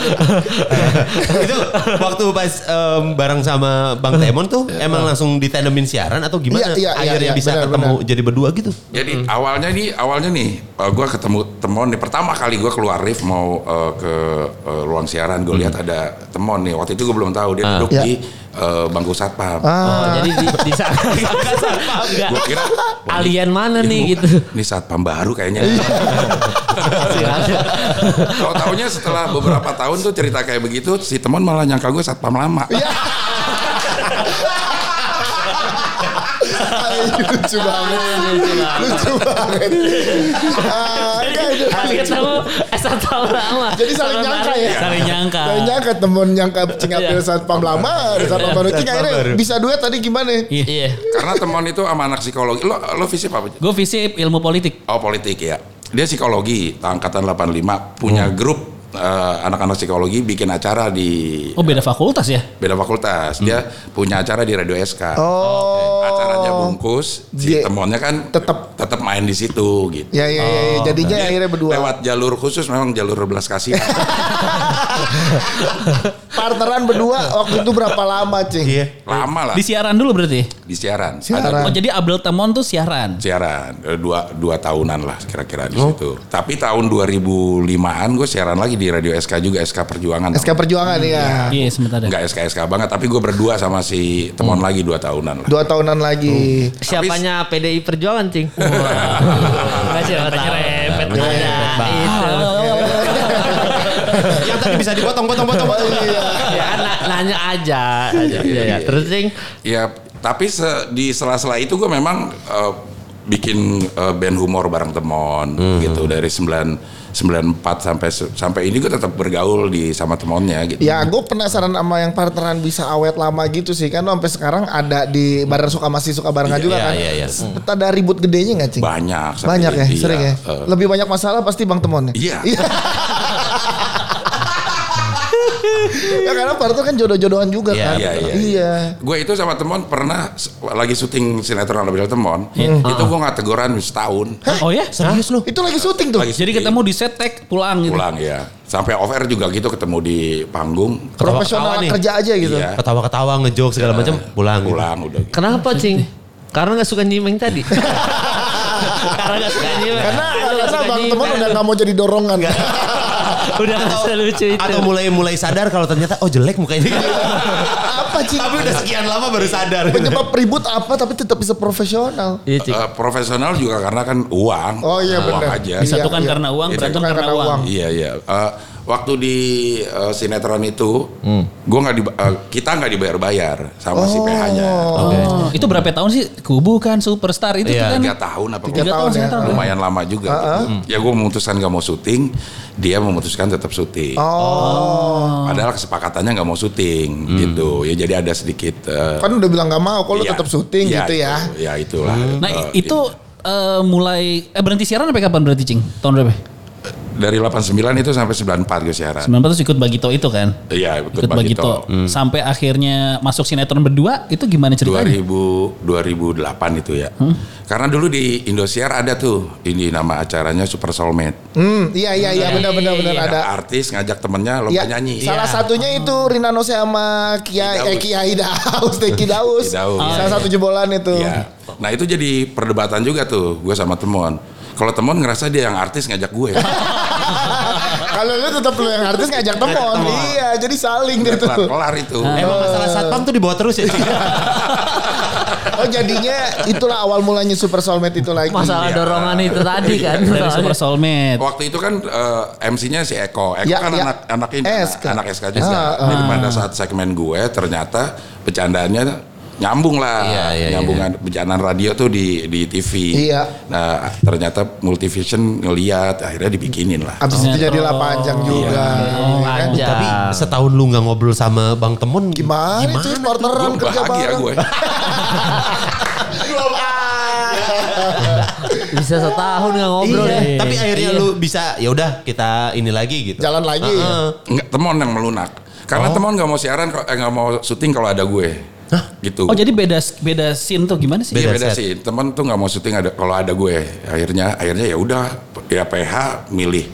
itu waktu pas em, bareng sama Bang Temon tuh emang langsung ditanemin siaran atau gimana?
Hmm. Iya, iya, iya, iya,
Akhirnya bisa
benar,
ketemu jadi berdua gitu.
Jadi awalnya nih, awalnya nih, eh, gua ketemu Temon nih pertama kali gua keluar lift mau eh, ke eh, ruang siaran,
Mm.
gua lihat ada Temon nih. Waktu itu gua belum tahu dia
Ah.
duduk
Iya.
di eh, bangku satpam.
Oh, jadi di, di saat enggak.
Gua kira wah,
Alien mana
ini-
nih
ini-
gitu.
Ini satpam baru kayaknya. Kalau tahunya setelah beberapa tahun tuh cerita kayak begitu, si Temon malah nyangka gue satpam lama.
Ay, lucu banget. Lucu banget. Ah, enggak, itu
Pas
lucu.
ketemu eh, satu tahun lama.
Jadi saling
Sama
nyangka
Mari.
ya.
Saling nyangka.
Kayaknya ketemu nyangka cingapil
Iya.
satpam lama, ada satpam baru. Cing
Satpam baru.
akhirnya bisa duet tadi gimana?
Iya.
Karena Temon itu sama anak psikologi. Lo lo visip apa?
Gue visi ilmu politik.
Oh politik ya. Dia psikologi, angkatan 85 punya
Hmm.
grup eh, anak-anak psikologi bikin acara di
Oh beda fakultas ya?
beda fakultas. Dia punya acara di Radio SK.
Hmm. Oh.
Acaranya bungkus, si
Dia-
temonnya kan
tetep-
tetap main di situ gitu.
Ya ya ya, ya.
Oh,
jadinya
Jadi
akhirnya berdua.
Lewat jalur khusus memang jalur belas kasihan.
Eh, Partneran berdua waktu itu berapa lama, Cing?
Lama lah
Di
di,
siaran dulu berarti?
siaran. Ada
Siaran.
Oh jadi Abdul Temon tuh siaran?
siaran eh, dua dua tahunan lah kira-kira di
Oh.
situ. Tapi tahun 2005-an gue siaran lagi di Radio SK juga SK Perjuangan.
SK Perjuangan ya.
Iya sebentar deh.
Enggak SK SK banget, tapi gue berdua sama si Temon
Hmm.
lagi dua tahunan lah.
Dua tahunan lagi.
Siapanya PDI Perjuangan, Cing? Enggak sih, Iya, repet repet ada
Iya.
itu.
Yang tadi bisa dipotong, potong, potong, potong.
Ya na- nanya aja. Iya, iya, iya. Terus Cing,
Ya, tapi se- di sela-sela itu gue memang eh, bikin eh, band humor bareng Temon
Hmm.
gitu dari 9 94 sampai se- sampai ini gue tetap bergaul di sama Temonnya gitu.
Ya gue penasaran sama yang partneran bisa awet lama gitu sih kan lo sampai sekarang ada di Bandar Suka masih suka barengan juga kan.
iya, iya.
Hmm. Ada ribut gedenya nggak cing?
Banyak. sampai
banyak ya,
jadi,
sering ya.
eh,
Lebih banyak masalah pasti bang temonnya.
Iya.
ya karena partner kan jodoh-jodohan juga
Iya,
kan.
Iya, iya.
Iya.
Gue itu sama Temon pernah s- lagi syuting sinetron lebih Temon,
Hmm.
itu gue nggak teguran setahun
Oh ya? Serius lu?
Itu lagi syuting tuh.
Lagi-
Jadi ketemu di setek pulang gitu.
pulang ya. Sampai off air juga gitu ketemu di panggung.
Profesional
Ketawa nih.
kerja aja gitu.
Iya.
Ketawa-ketawa, ngejok
Ya.
segala macam, pulang. gitu.
Pulang udah gitu.
kenapa Cing? Karena gak suka nyimeng tadi. Karena gak suka nyimeng.
Karena
Iya,
nggak
karena
suka
bang
nyimeng.
temon udah nggak mau jadi dorongan.
udah nggak selucu itu.
Atau mulai-mulai sadar kalau ternyata oh jelek mukanya.
apa cing?
Tapi udah sekian lama baru
Iya.
sadar.
Penyebab ribut apa tapi tetap bisa profesional.
Iya, Cing.
Eh, profesional juga karena kan uang.
Oh iya
uang
benar.
aja.
Disatukan
Iya, iya.
karena uang,
Iya,
berantem
bukan
karena,
karena
uang.
uang.
Iya iya. Eh, waktu di eh, sinetron itu,
Hmm.
gua nggak di, eh, kita nggak dibayar-bayar sama si PH-nya.
Oh, itu berapa tahun sih? Kubu kan superstar itu tuh
Iya,
kan.
Tiga tahun apa
Tiga
berapa?
tahun ya. ah.
lumayan lama juga. gitu. Ya gue memutuskan nggak mau syuting, dia memutuskan tetap syuting.
Oh.
Padahal kesepakatannya nggak mau syuting
Hmm.
gitu. Ya jadi ada sedikit. eh,
Kan udah bilang nggak mau kalau
iya.
tetap syuting
Iya,
gitu ya.
itu. Ya itulah.
Nah
Eh,
itu eh, mulai eh berhenti siaran sampai kapan berarti Cing? Tahun berapa?
dari 89 itu sampai 94 gue siaran.
94 ikut Bagito itu kan?
Iya, ikut
Ikut Bagito.
Bagito.
Sampai akhirnya masuk sinetron berdua itu gimana ceritanya?
2000 2008 itu ya. Karena dulu di Indosiar ada tuh ini nama acaranya Super Soulmate.
Hmm, iya iya iya benar benar benar
Ada
ada.
artis ngajak temennya lomba
Ya,
nyanyi. Iya.
salah satunya itu Rina Nose sama Kiai
Daus.
eh, Kiai Daus, Teki Daus.
Ah, iya.
Teki Daus.
Salah satu jebolan itu.
Iya. Nah, itu jadi perdebatan juga tuh gue sama temuan. Kalau temen ngerasa dia yang artis ngajak ya. gue.
Kalau lu tetap lu yang artis ngajak telepon. Iya, jadi saling deh
Kelar,
tuh.
kelar itu.
Emang masalah satpam tuh dibawa terus ya. Ci?
Oh jadinya itulah awal mulanya Super Soulmate itu lagi.
Masalah
Iya.
dorongan itu tadi kan.
Dari
soalnya.
Super Soulmate.
Waktu itu kan eh, MC-nya si Eko. Eko
Ya,
kan
ya.
anak anak ini
SK.
anak SKJ. Jadi pada saat segmen gue ternyata bercandaannya nyambung lah.
Iya, iya,
Nyambungan bercandaan radio tuh di di TV.
Iya.
Nah, ternyata Multivision ngeliat akhirnya dibikinin lah.
Abis itu jadilah panjang juga.
Oh,
Iya kan?
Panjang.
Tapi setahun lu nggak ngobrol sama Bang Temun
Gimana, cuy partneran
Gue
kerja
bahagia
bareng.
gue.
Bisa setahun nggak ngobrol
Iya.
ya.
Tapi akhirnya lu bisa ya udah kita ini lagi gitu.
Jalan lagi.
Nggak, temon yang melunak. Karena temon nggak mau siaran, kok- eh, nggak mau syuting kalau ada gue. Gitu.
Oh jadi beda beda scene tuh gimana sih?
Iya
Beda
beda
set.
sih. Temen tuh nggak mau syuting ada kalau ada gue. Akhirnya akhirnya ya udah ya PH milih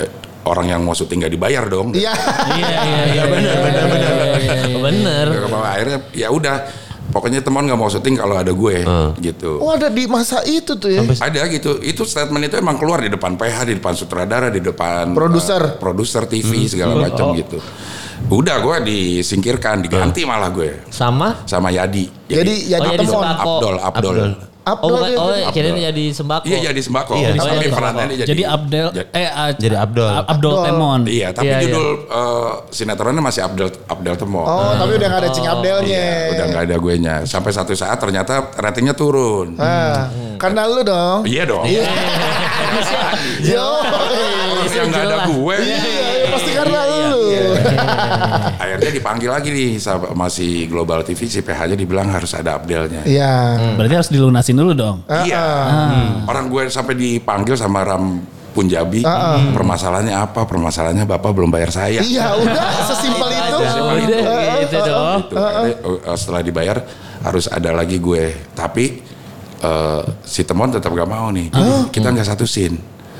eh, orang yang mau syuting nggak dibayar dong.
Iya.
Iya iya iya.
Bener bener bener.
iya, Bener.
Ya, kalau akhirnya ya udah pokoknya teman nggak mau syuting kalau ada gue gitu.
Oh ada di masa itu tuh ya.
Ada gitu. Itu statement itu emang keluar di depan PH, di depan sutradara, di depan
Produser.
eh, produser TV segala macam gitu. Udah gue disingkirkan, diganti malah gue
Sama?
sama Yadi.
Jadi jadi
jadi
telepon.
sembako.
Abdol, Abdol.
Abdol.
Oh,
Upload
bukan,
dia.
oh kirain jadi sembako.
Iya jadi sembako.
Iya,
Tapi
jadi Oh. sembako.
peranannya
Jadi Abdel eh ah,
Jadi Abdol.
Abdol Temon.
Iya, tapi
Iya,
judul eh, sinetronnya masih Abdel Abdel Temo.
Oh, iya, tapi udah gak ada Cing Abdelnya.
iya, Udah nggak ada gue nya. Sampai satu saat ternyata ratingnya turun.
Ah, Karena lu dong.
Iya dong.
Yo.
Terus yang nggak ada gue.
Iya, pasti karena lu.
Akhirnya dipanggil lagi nih sama masih Global TV si PH nya dibilang harus ada Abdelnya.
Iya. Ah,
Berarti harus dilunasin dulu dong.
Iya.
Hmm.
Orang gue sampai dipanggil sama Ram Punjabi. Permasalahannya apa? Permasalahannya Bapak belum bayar saya.
Ah, Iya, udah sesimpel itu.
Oh, udah gitu dong.
Gitu. Akhirnya, eh, setelah dibayar harus ada lagi gue. Tapi eh, si Temon tetap gak mau nih. Kita nggak satu scene.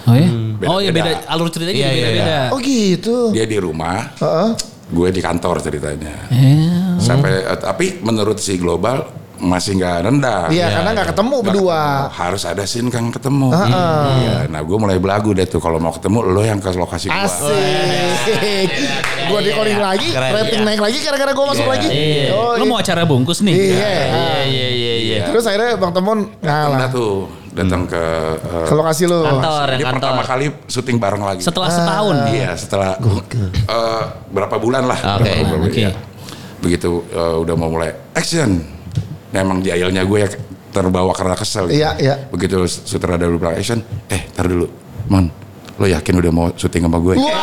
Oh iya.
Beda-
oh iya beda
beda.
alur ceritanya
Iya,
jadi
iya,
beda-beda.
Oh gitu.
Dia di rumah,
Heeh. Hmm.
gue di kantor ceritanya.
Iya.
Sampai eh, tapi menurut si global masih nggak rendah.
Iya, karena nggak ketemu
Nggak
berdua.
ketemu. Harus ada scene kan ketemu. Iya. Nah, gue mulai belagu deh tuh kalau mau ketemu lo yang ke lokasi gue.
Asik. Gua di calling lagi,
Keren,
rating naik lagi gara-gara gua masuk lagi. Oh,
iya. Lu mau acara bungkus nih.
Iya.
Iya iya iya.
Terus akhirnya Bang
Nah
Temon ngalah.
tuh datang ke eh,
Ke lokasi lu.
Kantor ya
dia
kantor.
pertama kali syuting bareng lagi.
Setelah setahun.
Iya setelah eh, berapa bulan lah.
Oke,
Berapa bulan,
oke.
iya. Begitu eh, udah mau mulai action. Nah, Memang jailnya gue ya terbawa karena kesel. gitu.
Iya, iya.
Begitu sutradara dulu bilang action, eh tar dulu, Mon, lo yakin udah mau syuting sama gue?
Iya.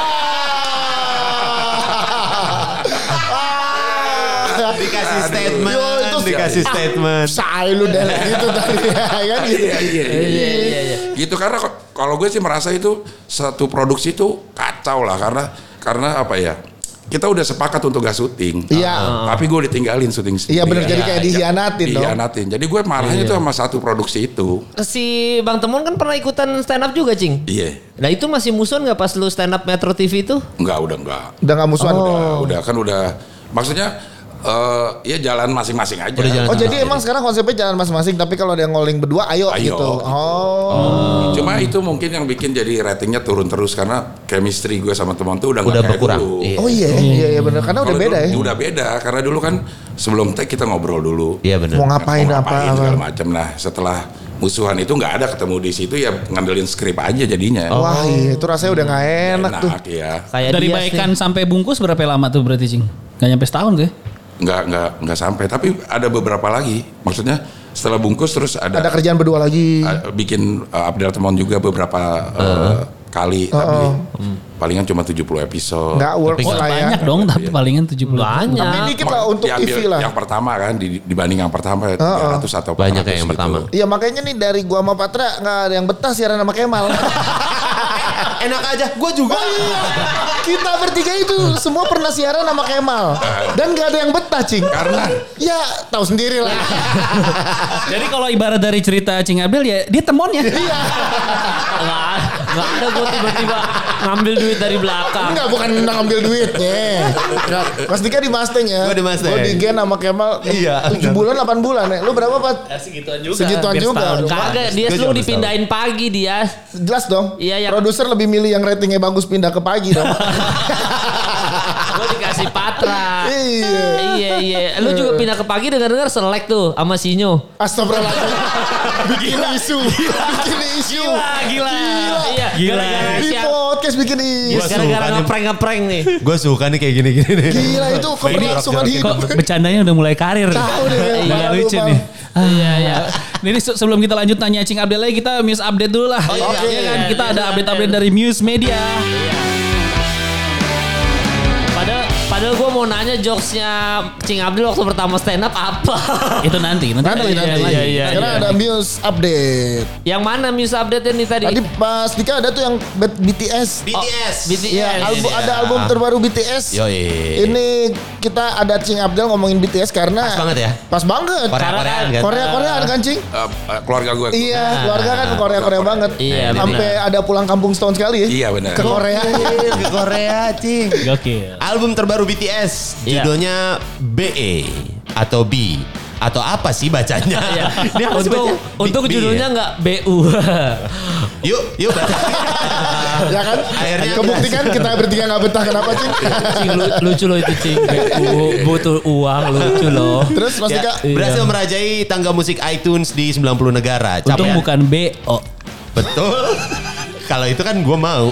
Wah.
Dikasih statement.
Iya,
Yo, Oh, itu
Dikasih statement.
Say lu dan gitu tadi ya kan gitu.
Iya, iya, iya. Gitu karena ko- kalau gue sih merasa itu satu produksi itu kacau lah karena karena apa ya? Kita udah sepakat untuk gak syuting. Ah,
Iya.
Tapi gue ditinggalin syuting
Iya benar jadi kayak
iya.
dihianatin dong.
Dihianatin. Jadi gue marahnya tuh sama satu produksi itu.
Si Bang Temon kan pernah ikutan stand up juga, Cing.
Iya.
Nah itu masih musuhan nggak pas lu stand up Metro TV itu?
Enggak, udah enggak.
Udah gak musuhan.
Udah, udah kan udah. Maksudnya eh ya jalan masing-masing aja.
Udah jalan
Oh jadi emang sekarang konsepnya jalan masing-masing tapi kalau ada yang ngoling berdua ayo,
Ayo,
gitu.
gitu.
Oh.
Cuma itu mungkin yang bikin jadi ratingnya turun terus karena chemistry gue sama teman tuh udah nggak
Udah
kayak
berkurang.
dulu.
Iya.
Oh iya, iya iya benar karena udah
Kalau
beda
dulu-
ya.
Udah beda karena dulu kan sebelum tag kita ngobrol dulu.
Iya bener.
Mau ngapain
Mau
apa apa.
segala macam. Nah setelah musuhan itu nggak ada ketemu di situ ya ngandelin skrip aja jadinya.
Wah, iya, itu rasanya udah gak enak tuh.
ya.
Kayak
Dari
dia
baikan sampai bungkus berapa lama tuh berarti Cing? Gak nyampe setahun tuh ya?
nggak nggak nggak sampai tapi ada beberapa lagi maksudnya setelah bungkus terus ada,
Ada kerjaan berdua lagi.
a- bikin uh, Abdel Temon juga beberapa uh, kali tapi
Hmm.
palingan cuma 70 episode
Nggak work
Tapi nggak
lah ya.
Banyak dong tapi palingan 70.
banyak.
Tapi dikit lah untuk
Diambil
IV lah.
yang pertama kan di- dibanding yang pertama ya, 300 atau
Banyak
400
ya yang
gitu.
pertama.
Iya makanya nih dari gua sama Patra nggak ada yang betah siaran sama Kemal.
enak aja. Gue juga.
Oh iya. Kita bertiga itu semua pernah siaran sama Kemal. Dan gak ada yang betah, Cing.
Karena?
Ya, tahu sendiri lah.
Jadi kalau ibarat dari cerita Cing Abel ya dia temonnya.
Iya.
Nggak, nggak ada gue tiba-tiba ngambil duit dari belakang.
Enggak, bukan ngambil duitnya. Enggak. Mas Dika di Mustang ya.
Gua di Mustang.
Gua di Gen sama Kemal.
Iya.
7 bulan, 8 bulan ya. Lu berapa, Pat?
Segituan juga.
Segituan
Hampir
juga.
setahun.
Kagak, dia
Setuju,
selalu
Mas
dipindahin pagi dia.
Jelas dong.
Iya, yang-
Produser lebih milih yang ratingnya bagus pindah ke pagi dong.
Gue dikasih patra.
Iya.
Iya, iya. Lu juga pindah ke pagi dengar-dengar selek tuh sama Sinyo.
Astagfirullahaladzim. Bikin isu. Bikin isu.
gila. Iya,
Gila.
gara-gara
Di
siap-
podcast bikin isu.
Gara-gara ngeprank-ngeprank nih.
Gue suka nih kayak gini-gini nih.
Gila itu keberlangsungan hidup.
Kok bercandanya udah mulai karir.
Tahu deh.
Iya
Malu,
lucu
Bang.
nih. Iya iya. Jadi se- sebelum kita lanjut nanya Cing Abdel lagi kita Muse update dulu lah.
iya,
Oke.
iya,
kan
iya,
kita
iya,
ada
iya.
update-update dari Muse Media.
Padahal, padahal gue mau nanya jokesnya Cing Abdul waktu pertama stand up apa?
Itu nanti nanti.
Nanti,
kita
nanti.
Iya,
lanjut.
iya,
Karena ada news update.
yang mana news update nih tadi?
Tadi Mas Dika ada tuh yang B- BTS.
BTS.
BTS.
Iya, albu- ada album terbaru BTS.
Yoi.
iya.
Ini kita ada Cing Abdel ngomongin BTS karena
Pas banget ya?
Pas banget.
Korea-Koreaan kan?
Korea-Koreaan kan Cing?
Eh, eh, keluarga gue.
Iya, keluarga kan Korea-Korea banget.
Nah, Iya,
Sampai ada pulang kampung setahun sekali ya.
Iya, benar.
Ke Korea.
Ke Korea, cing.
Gokil.
Album terbaru BTS
Iya.
judulnya BE atau B atau apa sih bacanya?
Iya.
Ini apa sih
untuk
bacanya? B-
untuk
B ya?
judulnya nggak BU.
Yuk, yuk baca.
ya kan?
Akhirnya
Kebuktikan kita bertiga nggak betah kenapa Cing?
Cing, lu- lucu loh itu cing. BU butuh uang lucu loh.
Terus Mas
Ya,
Dika,
berhasil merajai tangga musik iTunes di 90 negara.
Untung
Capaian-
bukan BO.
Oh, Betul. Kalau itu kan gue mau.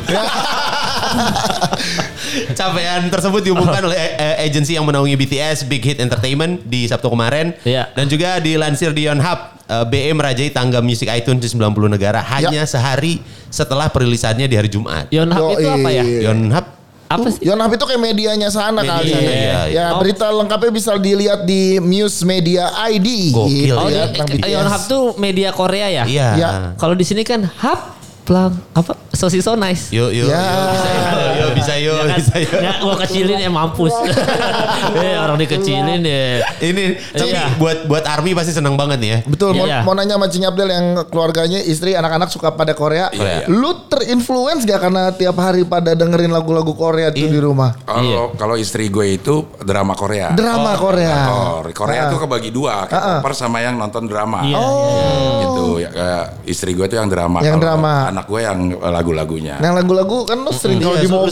Capaian tersebut diumumkan oleh eh, agensi yang menaungi BTS Big Hit Entertainment di Sabtu kemarin
Iya.
dan juga dilansir di Yonhap eh, BE merajai tangga musik iTunes di 90 negara hanya sehari setelah perilisannya di hari Jumat.
Yonhap itu
Yoi.
apa
Iya,
ya?
Yonhap
Apa sih?
Yonhap itu kayak medianya sana
Media,
kan. Ya,
iya,
Oh.
iya.
berita lengkapnya bisa dilihat di Muse Media ID.
Gokil. Eh,
Gitu
Oh,
ya,
di-
tentang BTS.
Yonhap tuh media Korea ya?
Iya.
Ya.
Kalau di sini kan hap plang apa so si so nice.
Yuk yuk
Ya.
yuk, bisa yuk, yuk bisa yuk
Ya kan?
bisa yuk.
Ya, gua kecilin ya mampus. eh orang dikecilin ya.
Ini tapi
Iya.
buat buat Army pasti senang banget nih ya.
Betul, mau,
Iya.
mau nanya sama Cing Abdel yang keluarganya, istri, anak-anak suka pada Korea.
Iya.
Lu terinfluence gak karena tiap hari pada dengerin lagu-lagu Korea tuh
Iya.
di rumah?
Kalau kalau istri gue itu drama Korea.
Drama Ah. Korea.
Drakor. Korea tuh kebagi dua, K-popers sama yang nonton drama.
Iya,
Oh.
Gitu ya kayak istri gue tuh yang drama.
Yang
kalau
drama.
Anak gue yang lagu-lagunya.
Nah lagu-lagu kan lu sering kalau
Iya,
di
sering-
mobil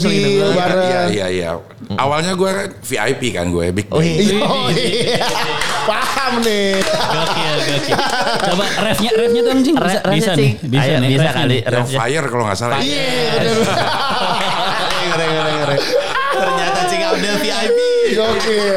bareng.
sering dengerin.
Iya, iya, iya. Awalnya gue kan VIP kan gue,
Oh,
big band.
Iya, iya. Paham nih.
Iya,
Gokil, gokil. Iya, Coba refnya, refnya dong Cing. Bisa,
Refnya,
bisa
Cing.
nih. Bisa
Ayo,
nih.
bisa
refnya
kali.
nih.
Yang fire kalau nggak salah.
Iya, bener.
Ngeri, ngeri, ngeri. Ternyata Cing Abdel VIP.
Gokil.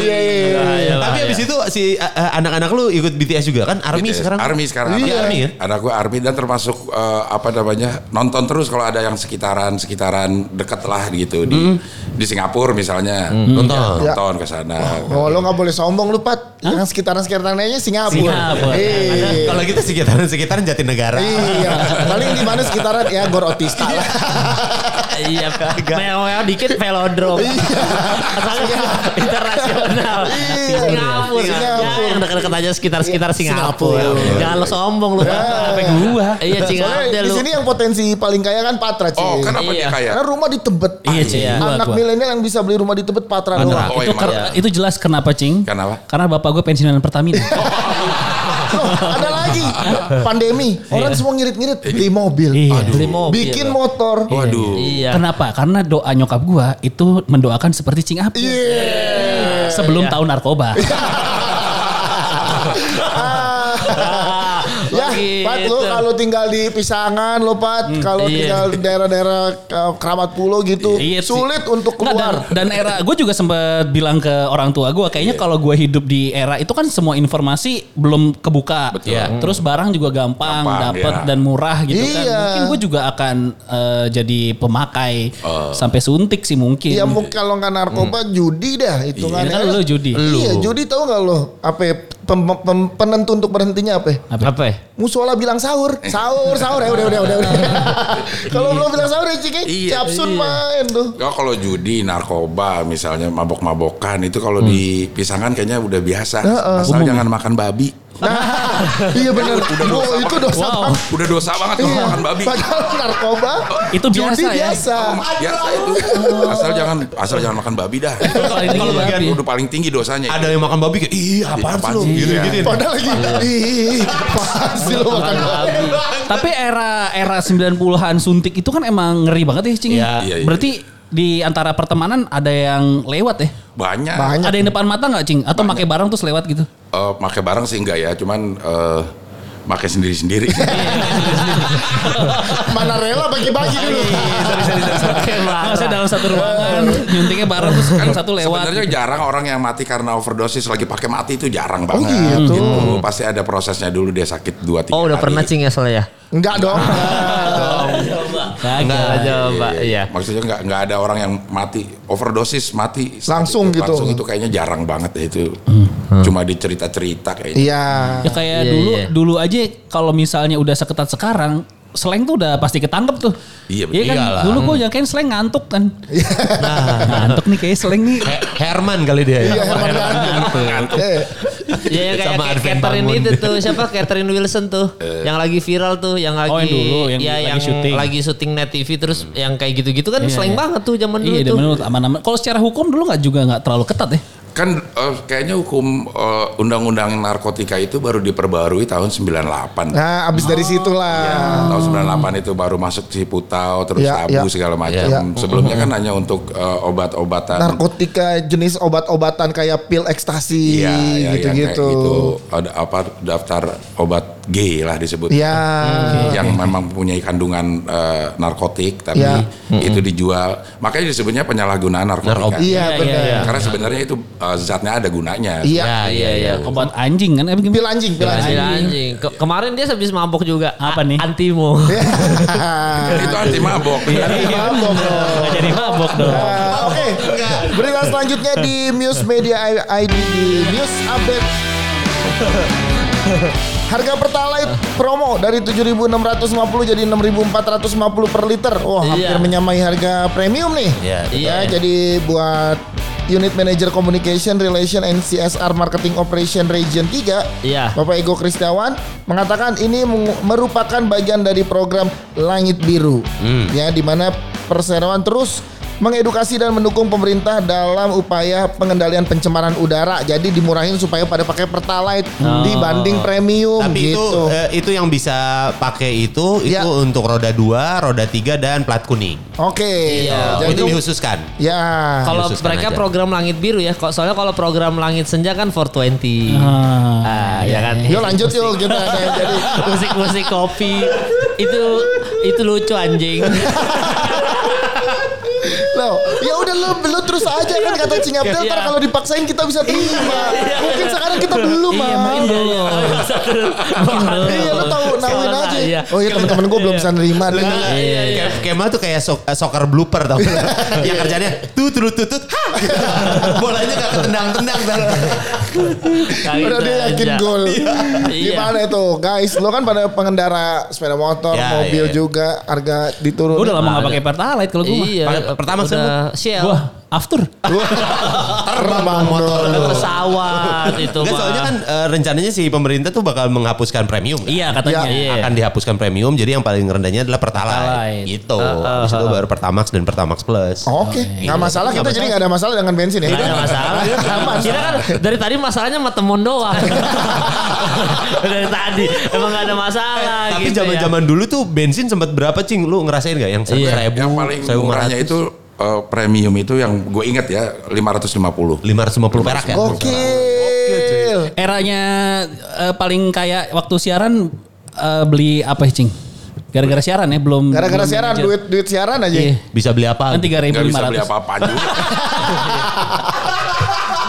Iya, iya, iya.
Tapi abis itu si eh, eh, anak-anak lu ikut BTS juga kan? Army
BTS.
sekarang?
Gitu. Army sekarang.
Iya.
Anak-
Army kan?
Anak gue Army dan termasuk eh, apa namanya nonton terus kalau ada yang sekitaran sekitaran deket lah gitu di di Singapura misalnya
Nonton.
Ya, nonton ke sana.
Iya. Oh lo gak boleh sombong lu Pat. Yang sekitaran-sekitarannya Singapura.
Singapura.
Iya.
Kalau kita sekitaran-sekitaran Jatinegara.
Iya. Paling di mana sekitaran ya Gor Otista lah.
Iya, mewah dikit velodrome. Asalnya internasional.
Iya.
Singapura.
Singapura. Iya.
Ya, yang dekat-dekat aja sekitar-sekitar Singapura.
Singapura.
Jangan lo sombong lu. Apa gua? Iya, Singapura
Soalnya di
lu.
sini yang potensi paling kaya kan Patra Cing.
Oh, kenapa
Iya.
dia kaya?
Karena rumah di Tebet.
Iya, Cing. Iya. Gua-
Anak
gua.
milenial yang bisa beli rumah di Tebet Patra
Mantap.
doang.
Oh,
itu,
emang.
ker- itu jelas kenapa Cing.
Kenapa?
Karena bapak gue pensiunan Pertamina.
Loh, Oh, ada lagi pandemi. Orang semua ngirit-ngirit beli mobil.
Beli mobil.
Bikin motor.
Waduh.
Iya.
Kenapa? Karena doa nyokap gua itu mendoakan seperti Cing Abdel.
Iya.
Sebelum tahu narkoba.
Ah. ya,
Begitu.
Pat, lu kalau tinggal di Pisangan, lu Pat,
Hmm,
kalau
iya.
tinggal di daerah-daerah eh, Keramat Pulau gitu,
Iya sih.
sulit untuk
Nggak, dan-
keluar.
dan, era gue juga sempat bilang ke orang tua gue
Iya.
kayaknya kalau gue hidup di era itu kan semua informasi belum kebuka.
Betul.
Ya. Terus barang juga gampang,
Gampang,
dapet
iya.
dan murah gitu kan.
Iya.
Mungkin gue juga akan eh, jadi pemakai sampai suntik sih mungkin.
Ya mungkin kalau nggak narkoba judi dah
Ya
hitungannya.
kan lu judi.
Iya judi tahu nggak lo apa ya, pem- pem- pem- penentu untuk berhentinya apa? ya?
Apa? Apa ya?
Musola bilang sahur,
Eh.
sahur, sahur ya udah udah udah udah. Kalau belum bilang sahur ya Ciki,
Iya,
Capsun main tuh.
Ya, kalau judi, narkoba, misalnya mabok-mabokan itu
Hmm.
kalau dipisahkan kayaknya udah biasa. Asal jangan makan babi.
Nah, iya benar. Wow, itu dosa
Wow.
banget.
Udah dosa banget tuh
Iya.
makan babi. Oh,
Padahal narkoba
Itu biasa
judi
ya.
biasa.
Biasa itu.
Iya.
Asal jangan asal jangan makan babi dah. Iya,
Kalau bagian
Udah paling tinggi dosanya.
Ada yang makan babi kayak, ih apaan sih
Apaan
lu?
sih?
Gitu, gitu.
Padahal lagi ih, apaan sih lo makan babi?
Tapi era era 90-an suntik itu kan emang ngeri banget ya, Cing.
Iya.
Iya, iya.
Berarti di antara pertemanan ada yang lewat ya?
Banyak.
Banyak.
Ada yang depan mata nggak, Cing? Atau pakai barang terus lewat gitu?
Eh, pakai barang sih enggak ya, cuman eh pakai sendiri-sendiri.
Iya, Mana rela bagi-bagi dulu.
Iya.
Maksudnya dalam satu ruangan, nyuntiknya bareng terus kan satu lewat.
Sebenarnya jarang orang yang mati karena overdosis lagi pakai mati itu jarang banget.
gitu.
Pasti ada prosesnya dulu dia sakit 2 3
Oh udah
gitu.
pernah cing ya soalnya ya?
Enggak dong.
Enggak coba
Iya.
iya.
Maksudnya nggak nggak ada orang yang mati overdosis mati
Langsung
Itu-
gitu.
Langsung itu kayaknya jarang banget ya itu. Cuma dicerita-cerita kayaknya.
Iya.
Ya kayak
Iya,
dulu
iya.
dulu aja kalau misalnya udah seketat sekarang, Slang tuh udah pasti ketangkep tuh.
Iya,
Iya kan?
iyalah.
Dulu gue yakin Slang ngantuk kan. Nah, ngantuk nih kayak Slang nih.
He- Herman kali dia. ya.
Iya, Herman Gandhi. Eh,
Iya yang kayak
Sama Advent
Catherine
Bangun.
itu tuh siapa Catherine Wilson tuh yang lagi viral tuh yang lagi
Oh, yang dulu, yang
ya,
lagi
yang
syuting.
lagi syuting net TV terus yang kayak gitu-gitu kan slang banget tuh zaman dulu
Iya,
tuh.
dan menurut aman-aman. Kalau secara hukum dulu nggak juga nggak terlalu ketat ya.
Kan eh, kayaknya hukum eh, undang-undang narkotika itu baru diperbarui tahun 98.
Nah, abis
Oh.
dari situlah.
Tahun 98 itu baru masuk Ciputau terus
Ya,
tabu
ya.
segala macam.
Ya.
Sebelumnya kan hanya untuk eh, obat-obatan
narkotika jenis obat-obatan kayak pil
Iya, iya,
ekstasi
yang kayak
gitu-gitu.
gitu. Ada apa daftar obat G lah disebut.
Iya.
Eh, Yang memang mempunyai kandungan eh, narkotik tapi
Iya.
itu dijual. Makanya disebutnya penyalahgunaan narkotika.
Iya, benar.
Karena sebenarnya itu eh, zatnya ada gunanya.
Iya.
Ya, iya iya.
Obat anjing kan? Eh, gimana?
Pil anjing, pil anjing.
Anjing, anjing. Ke- kemarin dia habis mabok juga.
Apa nih?
Antimo.
Nah, Itu anti mabok.
Iya. Mabok dong.
Iya. Nggak jadi mabok dong.
Nah, Oke, berita selanjutnya di Muse Media ID di Muse Update. Harga Pertalite promo dari 7.650 jadi 6.450 per liter. Wah, hampir
Iya.
menyamai harga premium nih.
Iya,
Ya,
iya.
jadi buat Unit Manager Communication Relation and CSR Marketing Operation Region 3,
Iya.
Bapak Ego Kristiawan mengatakan ini mengu- merupakan bagian dari program Langit Biru. Ya, di mana perseroan terus mengedukasi dan mendukung pemerintah dalam upaya pengendalian pencemaran udara. Jadi dimurahin supaya pada pakai Pertalite dibanding premium
Tapi itu
gitu.
eh, itu yang bisa pakai itu
Ya.
itu untuk roda 2, roda 3 dan plat kuning.
Oke.
Oh,
Nah, Jadi
itu dihususkan.
ya.
Kalau
Khususkan
mereka
aja.
program langit biru ya, kok soalnya kalau program langit senja kan 420. Ah, ya kan.
Yuk lanjut yuk kita ada yang jadi
Musik-musik kopi itu itu lucu anjing.
Iya,
Loh, ya udah lu lu terus aja kan kata Cing Abdel ntar
Iya.
kalau dipaksain kita bisa terima. Mungkin sekarang kita belum,
Iya,
Mas.
main dulu.
Iya, lu tahu nawin
Sekarang
aja.
iya.
Oh iya teman-teman gue belum bisa nerima nih.
Iya, iya. Kema tuh kayak sok- eh, soccer blooper tau
Iya.
Yang kerjanya tut tut tut tut. ha! Bolanya gak ketendang-tendang.
Udah dia yakin gol.
Iya.
Gimana itu, guys? Lo kan pada pengendara sepeda motor,
Ya,
mobil
iya, iya.
juga harga diturun.
Gue udah lama nggak pakai pertalite kalau gue.
Iya.
Pada- pertama
udah Shell.
Gue after.
terbang motor.
Udah pesawat itu.
Enggak
mah.
soalnya kan eh, rencananya si pemerintah tuh bakal menghapuskan premium. kan?
Iya katanya.
Ya,
iya.
akan dihapuskan premium jadi yang paling rendahnya adalah Pertalite
Pertalite.
gitu habis itu baru Pertamax dan Pertamax Plus
Oh.
Oke, nggak masalah kita jadi nggak ada masalah dengan bensin ya.
Gak ada masalah. Kita kan dari tadi masalahnya sama temen doang. dari tadi emang gak ada masalah.
tapi
gitu ya.
zaman-zaman dulu tuh bensin sempat berapa cing lu ngerasain gak yang
Iya.
seribu
Yang paling murahnya itu eh, premium itu yang gue inget ya 550.
lima ratus lima puluh perak
Oh.
ya
Gokil.
Eranya eh, paling kayak waktu siaran eh, beli apa cing? Gara-gara siaran ya belum.
Gara-gara
belum
siaran,
manajer.
duit duit siaran aja.
Iya.
bisa beli apa
Kan tiga
Gak bisa beli apa-apa juga.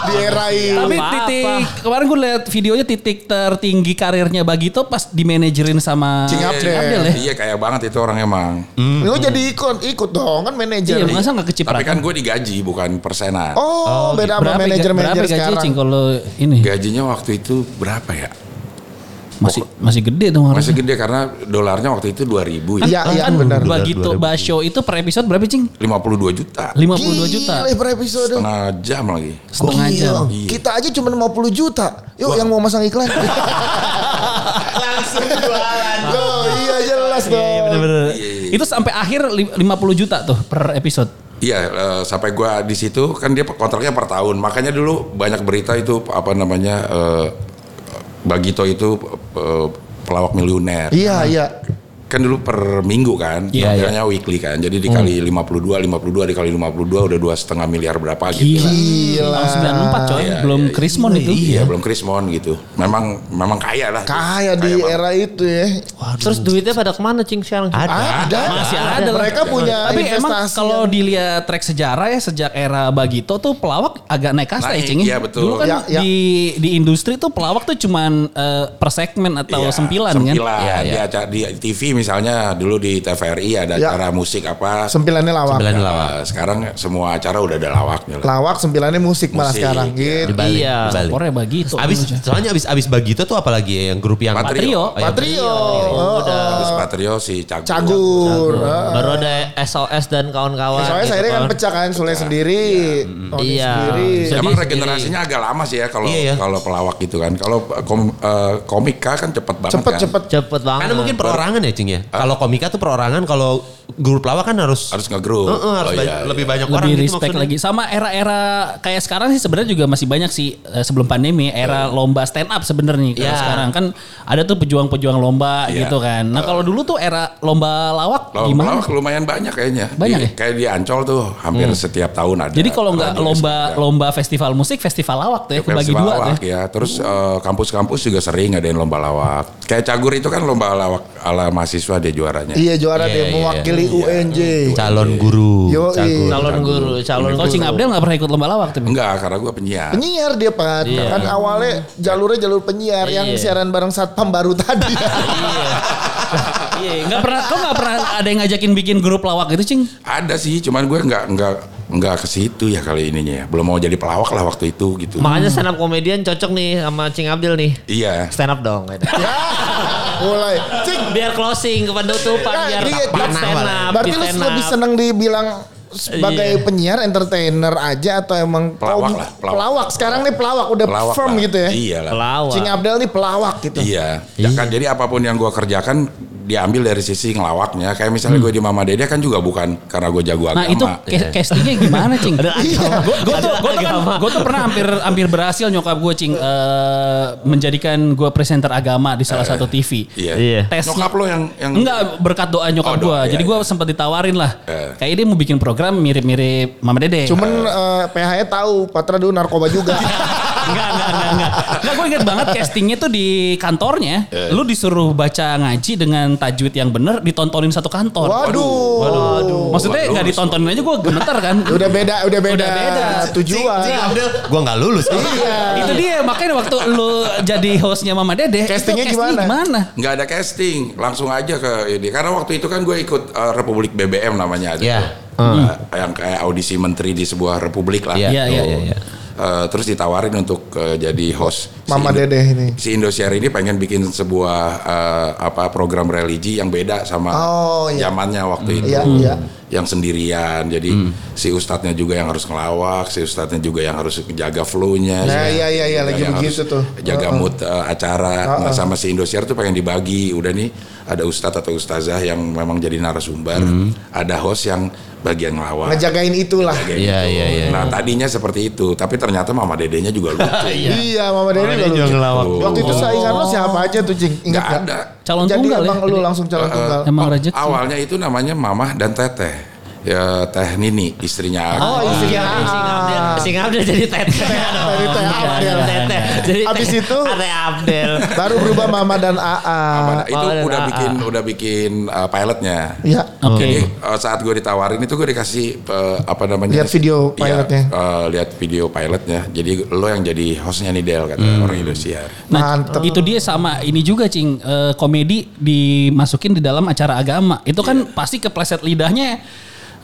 Di dierai.
Tapi
Apa-apa.
titik kemarin gue lihat videonya titik tertinggi karirnya Bagito pas dimanajerin sama
Cing Abdel.
ya.
Iya kayak banget itu orang emang.
Lo Oh, jadi ikut, ikut dong kan manajer.
Iya, masa nggak
Tapi
kecipratan.
kan gue digaji bukan persenan.
Oh, beda
Berapa
sama
ga-
manajer-manajer
berapa gaji,
sekarang.
Cing, kalau ini
Gajinya waktu itu berapa ya?
masih masih gede dong
Masih
harusnya.
gede karena dolarnya waktu itu 2000 ya.
Iya, iya
kan
benar.
Bagito Basho itu per episode berapa cing?
52 juta.
52 juta.
Gile, per episode.
Setengah jam lagi.
Setengah
Gokil.
jam.
Iya.
Kita aja cuma 50 juta. Yuk yang mau masang iklan.
Langsung jualan.
Loh, iya jelas dong.
Itu sampai akhir li- 50 juta tuh per episode.
Iya, eh, sampai gua di situ kan dia kontraknya per tahun. Makanya dulu banyak berita itu apa namanya eh, Bagito itu eh, pelawak miliuner.
Iya, iya.
Kan dulu per minggu kan,
Iya,
tampilnya weekly kan. Jadi dikali 52, 52 dikali 52 udah dua setengah miliar berapa gitu.
Gila.
Tahun 94 coy,
Iya,
belum
iya,
Krismon itu.
Iya, belum Krismon gitu. Memang memang kaya lah.
Kaya di era itu ya.
Terus duitnya pada kemana cing sekarang?
Ada.
Masih ada.
Ah, Mereka punya
Tapi emang
investasi
kalau
yang-
dilihat track sejarah ya sejak era Bagito tuh pelawak agak naik kasta ya
Naik,
Cing.
iya, betul.
Dulu kan
Ya, ya.
di di industri tuh pelawak tuh cuman eh, per segmen atau
Iya,
sempilan,
sempilan.
kan.
Iya, Di, acara- di TV misalnya dulu di TVRI ada
Iya.
acara musik apa.
sempilannya lawak.
Sembilan
Nah,
lawak.
Sekarang semua acara udah ada lawaknya. lah.
Lawak sempilannya musik, malah
Musik,
sekarang gitu.
Dibalik.
Iya.
dibalik.
Spornya Bagito.
Abis, soalnya abis abis Bagito tuh apalagi ya yang grup yang
Patrio.
Oh, iya.
Patrio. Oh,
Eh,
Terus Patrio si Cagur.
Cagur.
Baru ada SOS dan kawan-kawan.
Soalnya
gitu
akhirnya kan
kan.
pecah kan Sule sendiri. Tony
Iya.
sendiri.
Emang regenerasinya agak lama sih ya kalau
Iya, ya.
kalau pelawak gitu kan. Kalau kom, eh, komika kan cepet banget
Cepet
kan.
cepet.
Cepet banget.
Karena
Ah.
mungkin perorangan ya Cing ya. Kalau komika tuh perorangan, kalau grup lawak kan harus
Harus ngegroup.
Heeh, harus
Oh,
ba-
iya,
lebih banyak orang
lebih
gitu
respect
maksudnya.
lagi sama era-era kayak sekarang sih sebenarnya juga masih banyak sih eh, sebelum pandemi era
Iya.
lomba stand up sebenarnya kalau
Ya.
sekarang kan ada tuh pejuang-pejuang lomba
Iya.
gitu kan nah kalau dulu tuh era lomba lawak
Lawak,
gimana
pelawak lumayan banyak kayaknya.
Banyak
Di-
ya? Hmm.
Kayak di Ancol tuh hampir setiap tahun ada.
jadi kalau nggak
Radio
lomba
ada.
lomba festival musik festival lawak tuh ya kebagi
Festival
dua tuh
lawak
ya.
ya. Terus eh, kampus-kampus juga sering ngadain lomba lawak. Kayak cagur itu kan lomba lawak ala mahasiswa dia juaranya.
Iya juara
Iya,
dia
iya,
mewakili UNJ.
Iya,
calon guru.
Iya. Yo,
Cagur.
calon guru, calon
kalau Cing Abdel nggak pernah ikut lomba lawak tuh
Enggak, karena gue penyiar.
Penyiar dia Pat.
Iya.
Kan awalnya jalurnya jalur penyiar yang siaran bareng satpam baru tadi.
iya nggak pernah kau nggak pernah ada yang ngajakin bikin grup lawak gitu Cing
Ada sih, cuman gue nggak nggak nggak ke situ ya kali ininya. ya. Belum mau jadi pelawak lah waktu itu gitu.
Makanya stand up komedian cocok nih sama Cing Abdel nih.
Iya.
Stand up dong.
Mulai. Cik,
biar closing ke penutupan
Ya,
biar
iya,
tak
berarti-
stand up.
berarti
di
lu
stand
lebih
up.
seneng dibilang sebagai penyiar entertainer aja atau emang
Iya. Pelawak
kom-
lah, pelawak.
pelawak. Sekarang nih pelawak udah
Pelawak
firm
lah.
gitu ya.
Iya lah.
Pelawak.
Cing Abdel nih pelawak gitu.
Iya. Ya kan, jadi apapun yang gue kerjakan diambil dari sisi ngelawaknya. Kayak misalnya
Hmm.
gue di Mama Dede kan juga bukan karena gue jago agama.
Nah itu
iya.
ca- castingnya gimana cing? Gue gue tuh gue tuh, kan- gua tuh pernah hampir hampir berhasil nyokap gue cing eh, menjadikan gue presenter agama di salah satu TV.
Iya.
Iya.
Tesnya-
Nyokap lo yang yang
Enggak berkat doa nyokap
Oh, doa,
gue.
iya,
Jadi gue
iya.
sempat ditawarin lah.
Eh.
Kayak dia mau bikin program mirip-mirip Mama Dede.
Cuman eh, PH-nya tahu Patra dulu narkoba juga.
Enggak, enggak, enggak, enggak. Enggak, gue inget banget castingnya tuh di kantornya.
Iya.
Lu disuruh baca ngaji dengan tajwid yang bener ditontonin satu kantor.
Waduh.
Maksudnya
Waduh.
nggak ditontonin aja gue gemeter kan.
Udah beda, udah beda.
Udah beda.
Nah,
Tujuan.
Cing Abdel, gua nggak lulus.
Iya.
itu dia makanya waktu lu jadi hostnya Mama Dede
Castingnya
itu
gimana?
nggak ada casting, langsung aja ke ini. Karena waktu itu kan gue ikut eh, Republik BBM namanya ada.
Iya.
tuh. Eh, yang kayak audisi menteri di sebuah republik lah.
Iya,
iya,
gitu.
iya, iya.
Eh, terus ditawarin untuk eh, jadi host. Si
Mama
Indo-
Dede ini.
Si Indosiar ini pengen bikin sebuah eh, apa program religi yang beda sama
Oh, iya.
zamannya waktu itu.
Iya, iya.
Yang sendirian. Jadi
Hmm.
si ustadznya juga yang harus ngelawak, si ustadznya juga yang harus jaga flow-nya.
Nah,
si-
iya, iya, iya,
yang
lagi
harus
begitu tuh.
Jaga
Heeh.
mood eh, acara Nah, sama si Indosiar tuh pengen dibagi. Udah nih ada ustadz atau ustazah yang memang jadi narasumber,
Hmm.
ada host yang bagian ngelawak.
Ngejagain itulah.
Kayak
Iya,
gitu.
iya, iya,
Nah tadinya seperti itu, tapi ternyata mama dedenya juga lucu.
Iya, Mama Dede juga
Mama Dede
Oh.
juga
lucu.
ngelawak.
Waktu itu saingan lo siapa aja tuh, Cing? Ingat
Nggak
gak?
ada.
Calon
Jadi
tunggal ya.
emang lu langsung calon tunggal.
Emang rezeki.
Awalnya itu namanya mamah dan teteh. ya Teh Nini istrinya Agus.
Oh,
iya.
istrinya Aang.
Sing Abdel jadi teteh. iya,
Dari Teh Abdel.
Teteh. Jadi
Abis itu
Teteh Abdel.
baru berubah Mama dan Aa.
Pada- itu
Oh, ada
udah
AA.
bikin udah bikin uh, pilotnya.
Ya.
Oke.
Jadi uh, saat gue ditawarin itu gue dikasih uh, apa namanya?
Lihat video
Iya,
pilotnya.
uh, lihat video pilotnya. Jadi lo yang jadi hostnya nih Del kata orang Indosiar.
Nah,
Mantep.
itu dia sama ini juga cing Eh, komedi dimasukin di dalam acara agama. Itu kan
Iya.
pasti kepleset lidahnya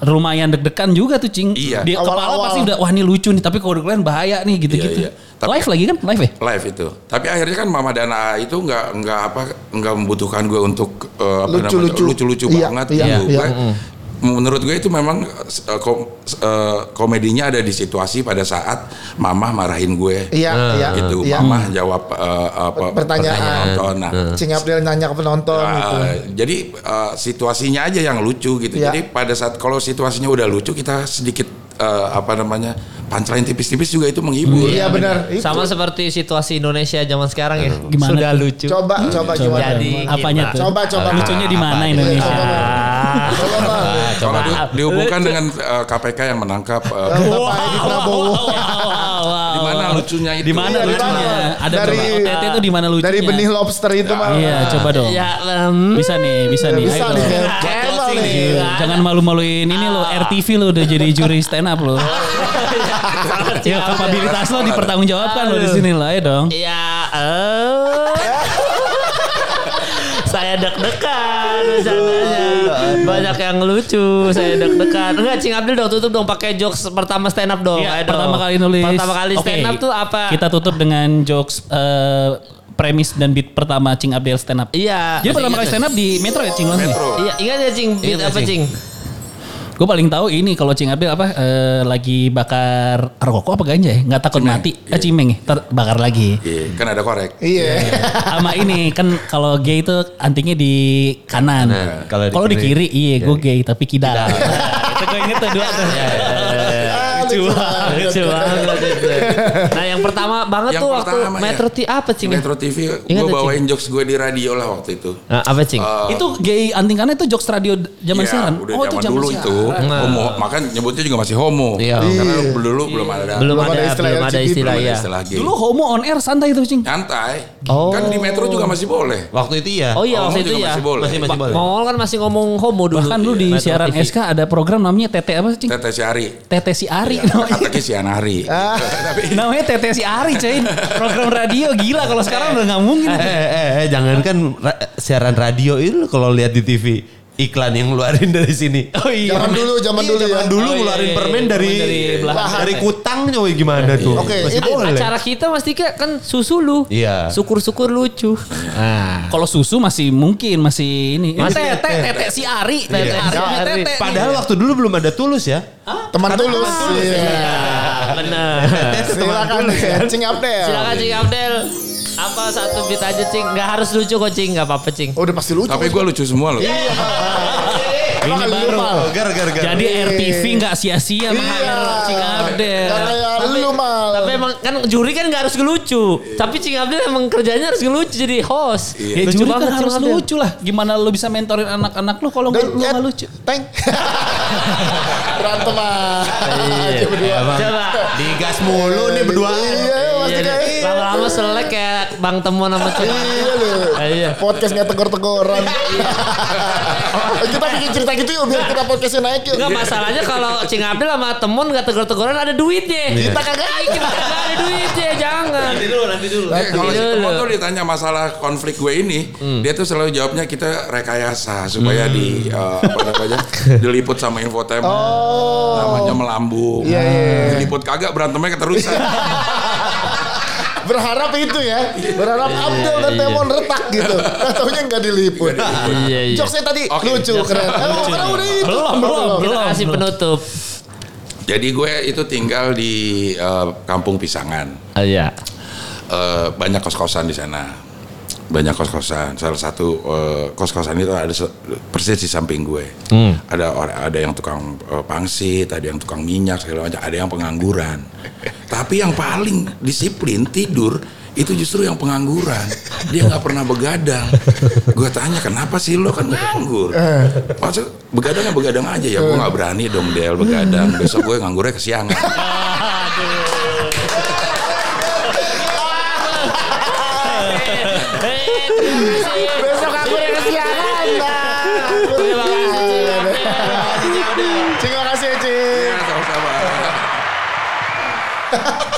lumayan deg-degan juga tuh cing.
Iya.
Dia kepala
Awal-awal.
pasti udah wah ini lucu nih, tapi kalau kalian bahaya nih gitu-gitu.
Iya, iya. Tapi-
live lagi kan? Live ya?
Live itu. Tapi akhirnya kan Mama dan Aa itu nggak nggak apa nggak membutuhkan gue untuk uh, apa namanya,
Lucu-lucu.
lucu-lucu
Iya,
banget
iya,
gitu.
iya.
Gue- Menurut gue itu memang uh, kom- uh, komedinya ada di situasi pada saat Mama marahin gue.
Iya, iya.
gitu
iya.
Mama jawab uh, apa
Pertanyaan.
penonton. Nah,
Cing Abdel nanya ke penonton
Ah,
gitu.
Jadi eh, situasinya aja yang lucu gitu.
Iya.
Jadi pada saat kalau situasinya udah lucu kita sedikit eh, apa namanya punchline tipis-tipis juga itu menghibur.
Iya benar. Itu.
Sama seperti situasi Indonesia zaman sekarang ya.
Gimana
Sudah
tuh?
lucu.
Coba, coba gimana?
Jadi
Apanya tuh?
Coba, coba.
Lucunya di mana
Apa?
Indonesia?
Coba,
Ah.
Coba, Bang.
Nah,
Kalau di- dihubungkan dengan eh, KPK yang menangkap eh,
Bang, Bapak Edi Prabowo.
di mana lucunya itu.
Di mana
Iya, di
lucunya?
mana?
Ada
Dari- iya,
berapa? OTT itu di mana lucunya?
Dari benih lobster itu mah.
Iya, coba dong.
Ya, em,
Bisa nih, bisa
Ya,
nih.
bisa
Ayo
nih.
dong.
kayak- kayak Emang nih.
Gila, Jangan malu-maluin ini lo
Iya.
RTV lo udah jadi juri stand up lo.
iya.
ya kapabilitas lo dipertanggungjawabkan lo di sini lah ya dong.
ya, eh. saya deg-degan bercandanya. Banyak yang lucu, saya deg-degan. Enggak, Cing Abdul dong tutup dong pakai jokes pertama stand up dong.
Iya,
Ayo dong.
pertama kali nulis.
Pertama kali
Oke,
stand up tuh apa?
Kita tutup dengan jokes eh, premis dan beat pertama Cing Abdel stand up.
Iya.
Jadi pertama kali stand up di Metro ya Cing langsung.
Metro.
Iya, ingat ya Cing, beat
Ingat,
apa
Cing?
Cing?
Gue paling tahu ini kalau Cing Abdel apa eh, lagi bakar rokok apa ganja ya? Nggak takut
Cimeng.
mati. Eh, cimeng ya, Ntar bakar lagi.
Iya, kan ada korek.
Iya.
sama ini kan kalau gay itu antingnya di kanan.
Nah,
Kalau di
Kalau di
kiri.
kiri, iya gue gay tapi kidal. Nah, itu gue inget tuh dua
Iya,
tuh.
Ah,
Lucu
lucu
banget.
banget.
Lucu banget itu. iya. Nah, yang pertama banget
Yang
tuh waktu
pertama ya.
Metro T apa Cing?
Metro TV
Ingat
gue
tuh,
bawain jokes gue di radio lah waktu itu.
Nah, apa Cing?
Eh,
Itu gay anting kanan itu jokes radio d- zaman
Iya,
siaran.
Udah zaman, dulu itu homo, makanya nyebutnya juga masih homo.
Iya.
Karena dulu belum ada
belum,
Belum ada
ada, ya,
istilah
belum ada
LGBT,
belum
istilah
ada
ya.
istilah gay.
Dulu homo on air santai itu cing.
nyantai.
Oh.
Kan di Metro juga masih boleh.
Waktu itu ya.
Oh iya
Homo
waktu itu
juga
ya.
masih boleh.
Masih masih boleh.
Mongol kan masih ngomong homo dulu.
Bahkan dulu di
Iya.
siaran
Metro TV.
SK ada program namanya Tete apa cing?
Tete Syari.
Tete si Ari. namanya.
Kata si Anari. Tapi
namanya Tete si Ari cing. Program radio gila kalau sekarang udah nggak mungkin.
Eh, eh, eh, eh, jangankan ra- siaran radio itu kalau lihat di TV iklan yang ngeluarin dari sini. Oh iya.
Zaman dulu, zaman dulu ya.
dulu
Oh, iya,
ngeluarin
iya,
permen
iya,
dari
dari belahan.
dari kutangnya woy, gimana tuh.
Oke,
iya. Masih
itu
boleh.
Acara kita Mas Tika kan susu lu.
Iya.
Syukur-syukur lucu.
Kalau susu masih mungkin masih ini.
Mas
Tete,
Iya.
Tete.
Tete si Ari, Tete Ari,
Ari.
Tete.
Padahal waktu dulu belum ada tulus ya.
Teman tulus. Iya.
Ah, Benar.
Silakan Cing Abdel.
Silakan Cing Abdel. Apa satu bit aja Cing? Gak harus lucu kok Cing, gak apa-apa Cing.
Oh, udah pasti lucu. Iya,
tapi gue lucu semua loh.
Emang
Ini
lu
baru.
mal.
Gar gar gar. Iya,
Jadi RTV nggak sia-sia
Iya.
mahal Cing Abdel.
Gak kayak lu mal.
Tapi emang kan juri kan gak harus ngelucu. Tapi Cing Abdel emang kerjanya harus ngelucu jadi host.
Ya
Iya.
juri kan harus lucu lah. Gimana lu bisa mentorin anak-anak lu kalau nggak-
Dan
lu
Ed,
nggak lucu?
Teng. Berantem ah.
Iya,
Aja berdua.
Coba.
iya, Digas mulu nih berduaan.
Iya, pasti
Iya,
kayak.
Lama-lama selek kayak Bang Temo sama Cing.
Iya lu.
Iya.
Podcast nggak tegur-teguran. Eh, kita bikin cerita gitu yuk biar kita podcastnya naik yuk.
Enggak masalahnya kalau Cing Abdul sama temen gak tegur-teguran ada duitnya. Kita kagak kita kagak ada duitnya, jangan.
Iya,
Iya,
Eh, Kalau si
Dulu.
Temo tuh ditanya masalah konflik gue ini,
Hmm.
dia tuh selalu jawabnya kita rekayasa supaya di eh, apa namanya diliput sama infotainment, namanya melambung,
Oh. Iya, iya, iya.
diliput kagak berantemnya keterusan.
Berharap itu ya. Berharap Abdel dan Temon retak gitu. Nggak Taunya nggak diliput.
Iya, iya.
Jokesnya tadi
Oke.
lucu keren. Oh, karena udah itu.
Belum,
Oh,
belum.
Kita kasih penutup.
Jadi gue itu tinggal di eh, kampung Pisangan.
Iya.
eh, banyak kos-kosan di sana. Banyak kos-kosan. Salah satu eh, kos-kosan itu ada se- persis di samping gue. Ada orang ada yang tukang eh, pangsit, ada yang tukang minyak segala macam, ada yang pengangguran. Tapi yang paling disiplin tidur itu justru yang pengangguran dia nggak pernah begadang gue tanya kenapa sih lo kan nganggur maksud begadang ya begadang aja ya gue nggak berani dong Del begadang besok gue nganggurnya kesiangan
Besok aku udah kesiangan, Bang.
Terima kasih.
Terima kasih, Cing.
sama-sama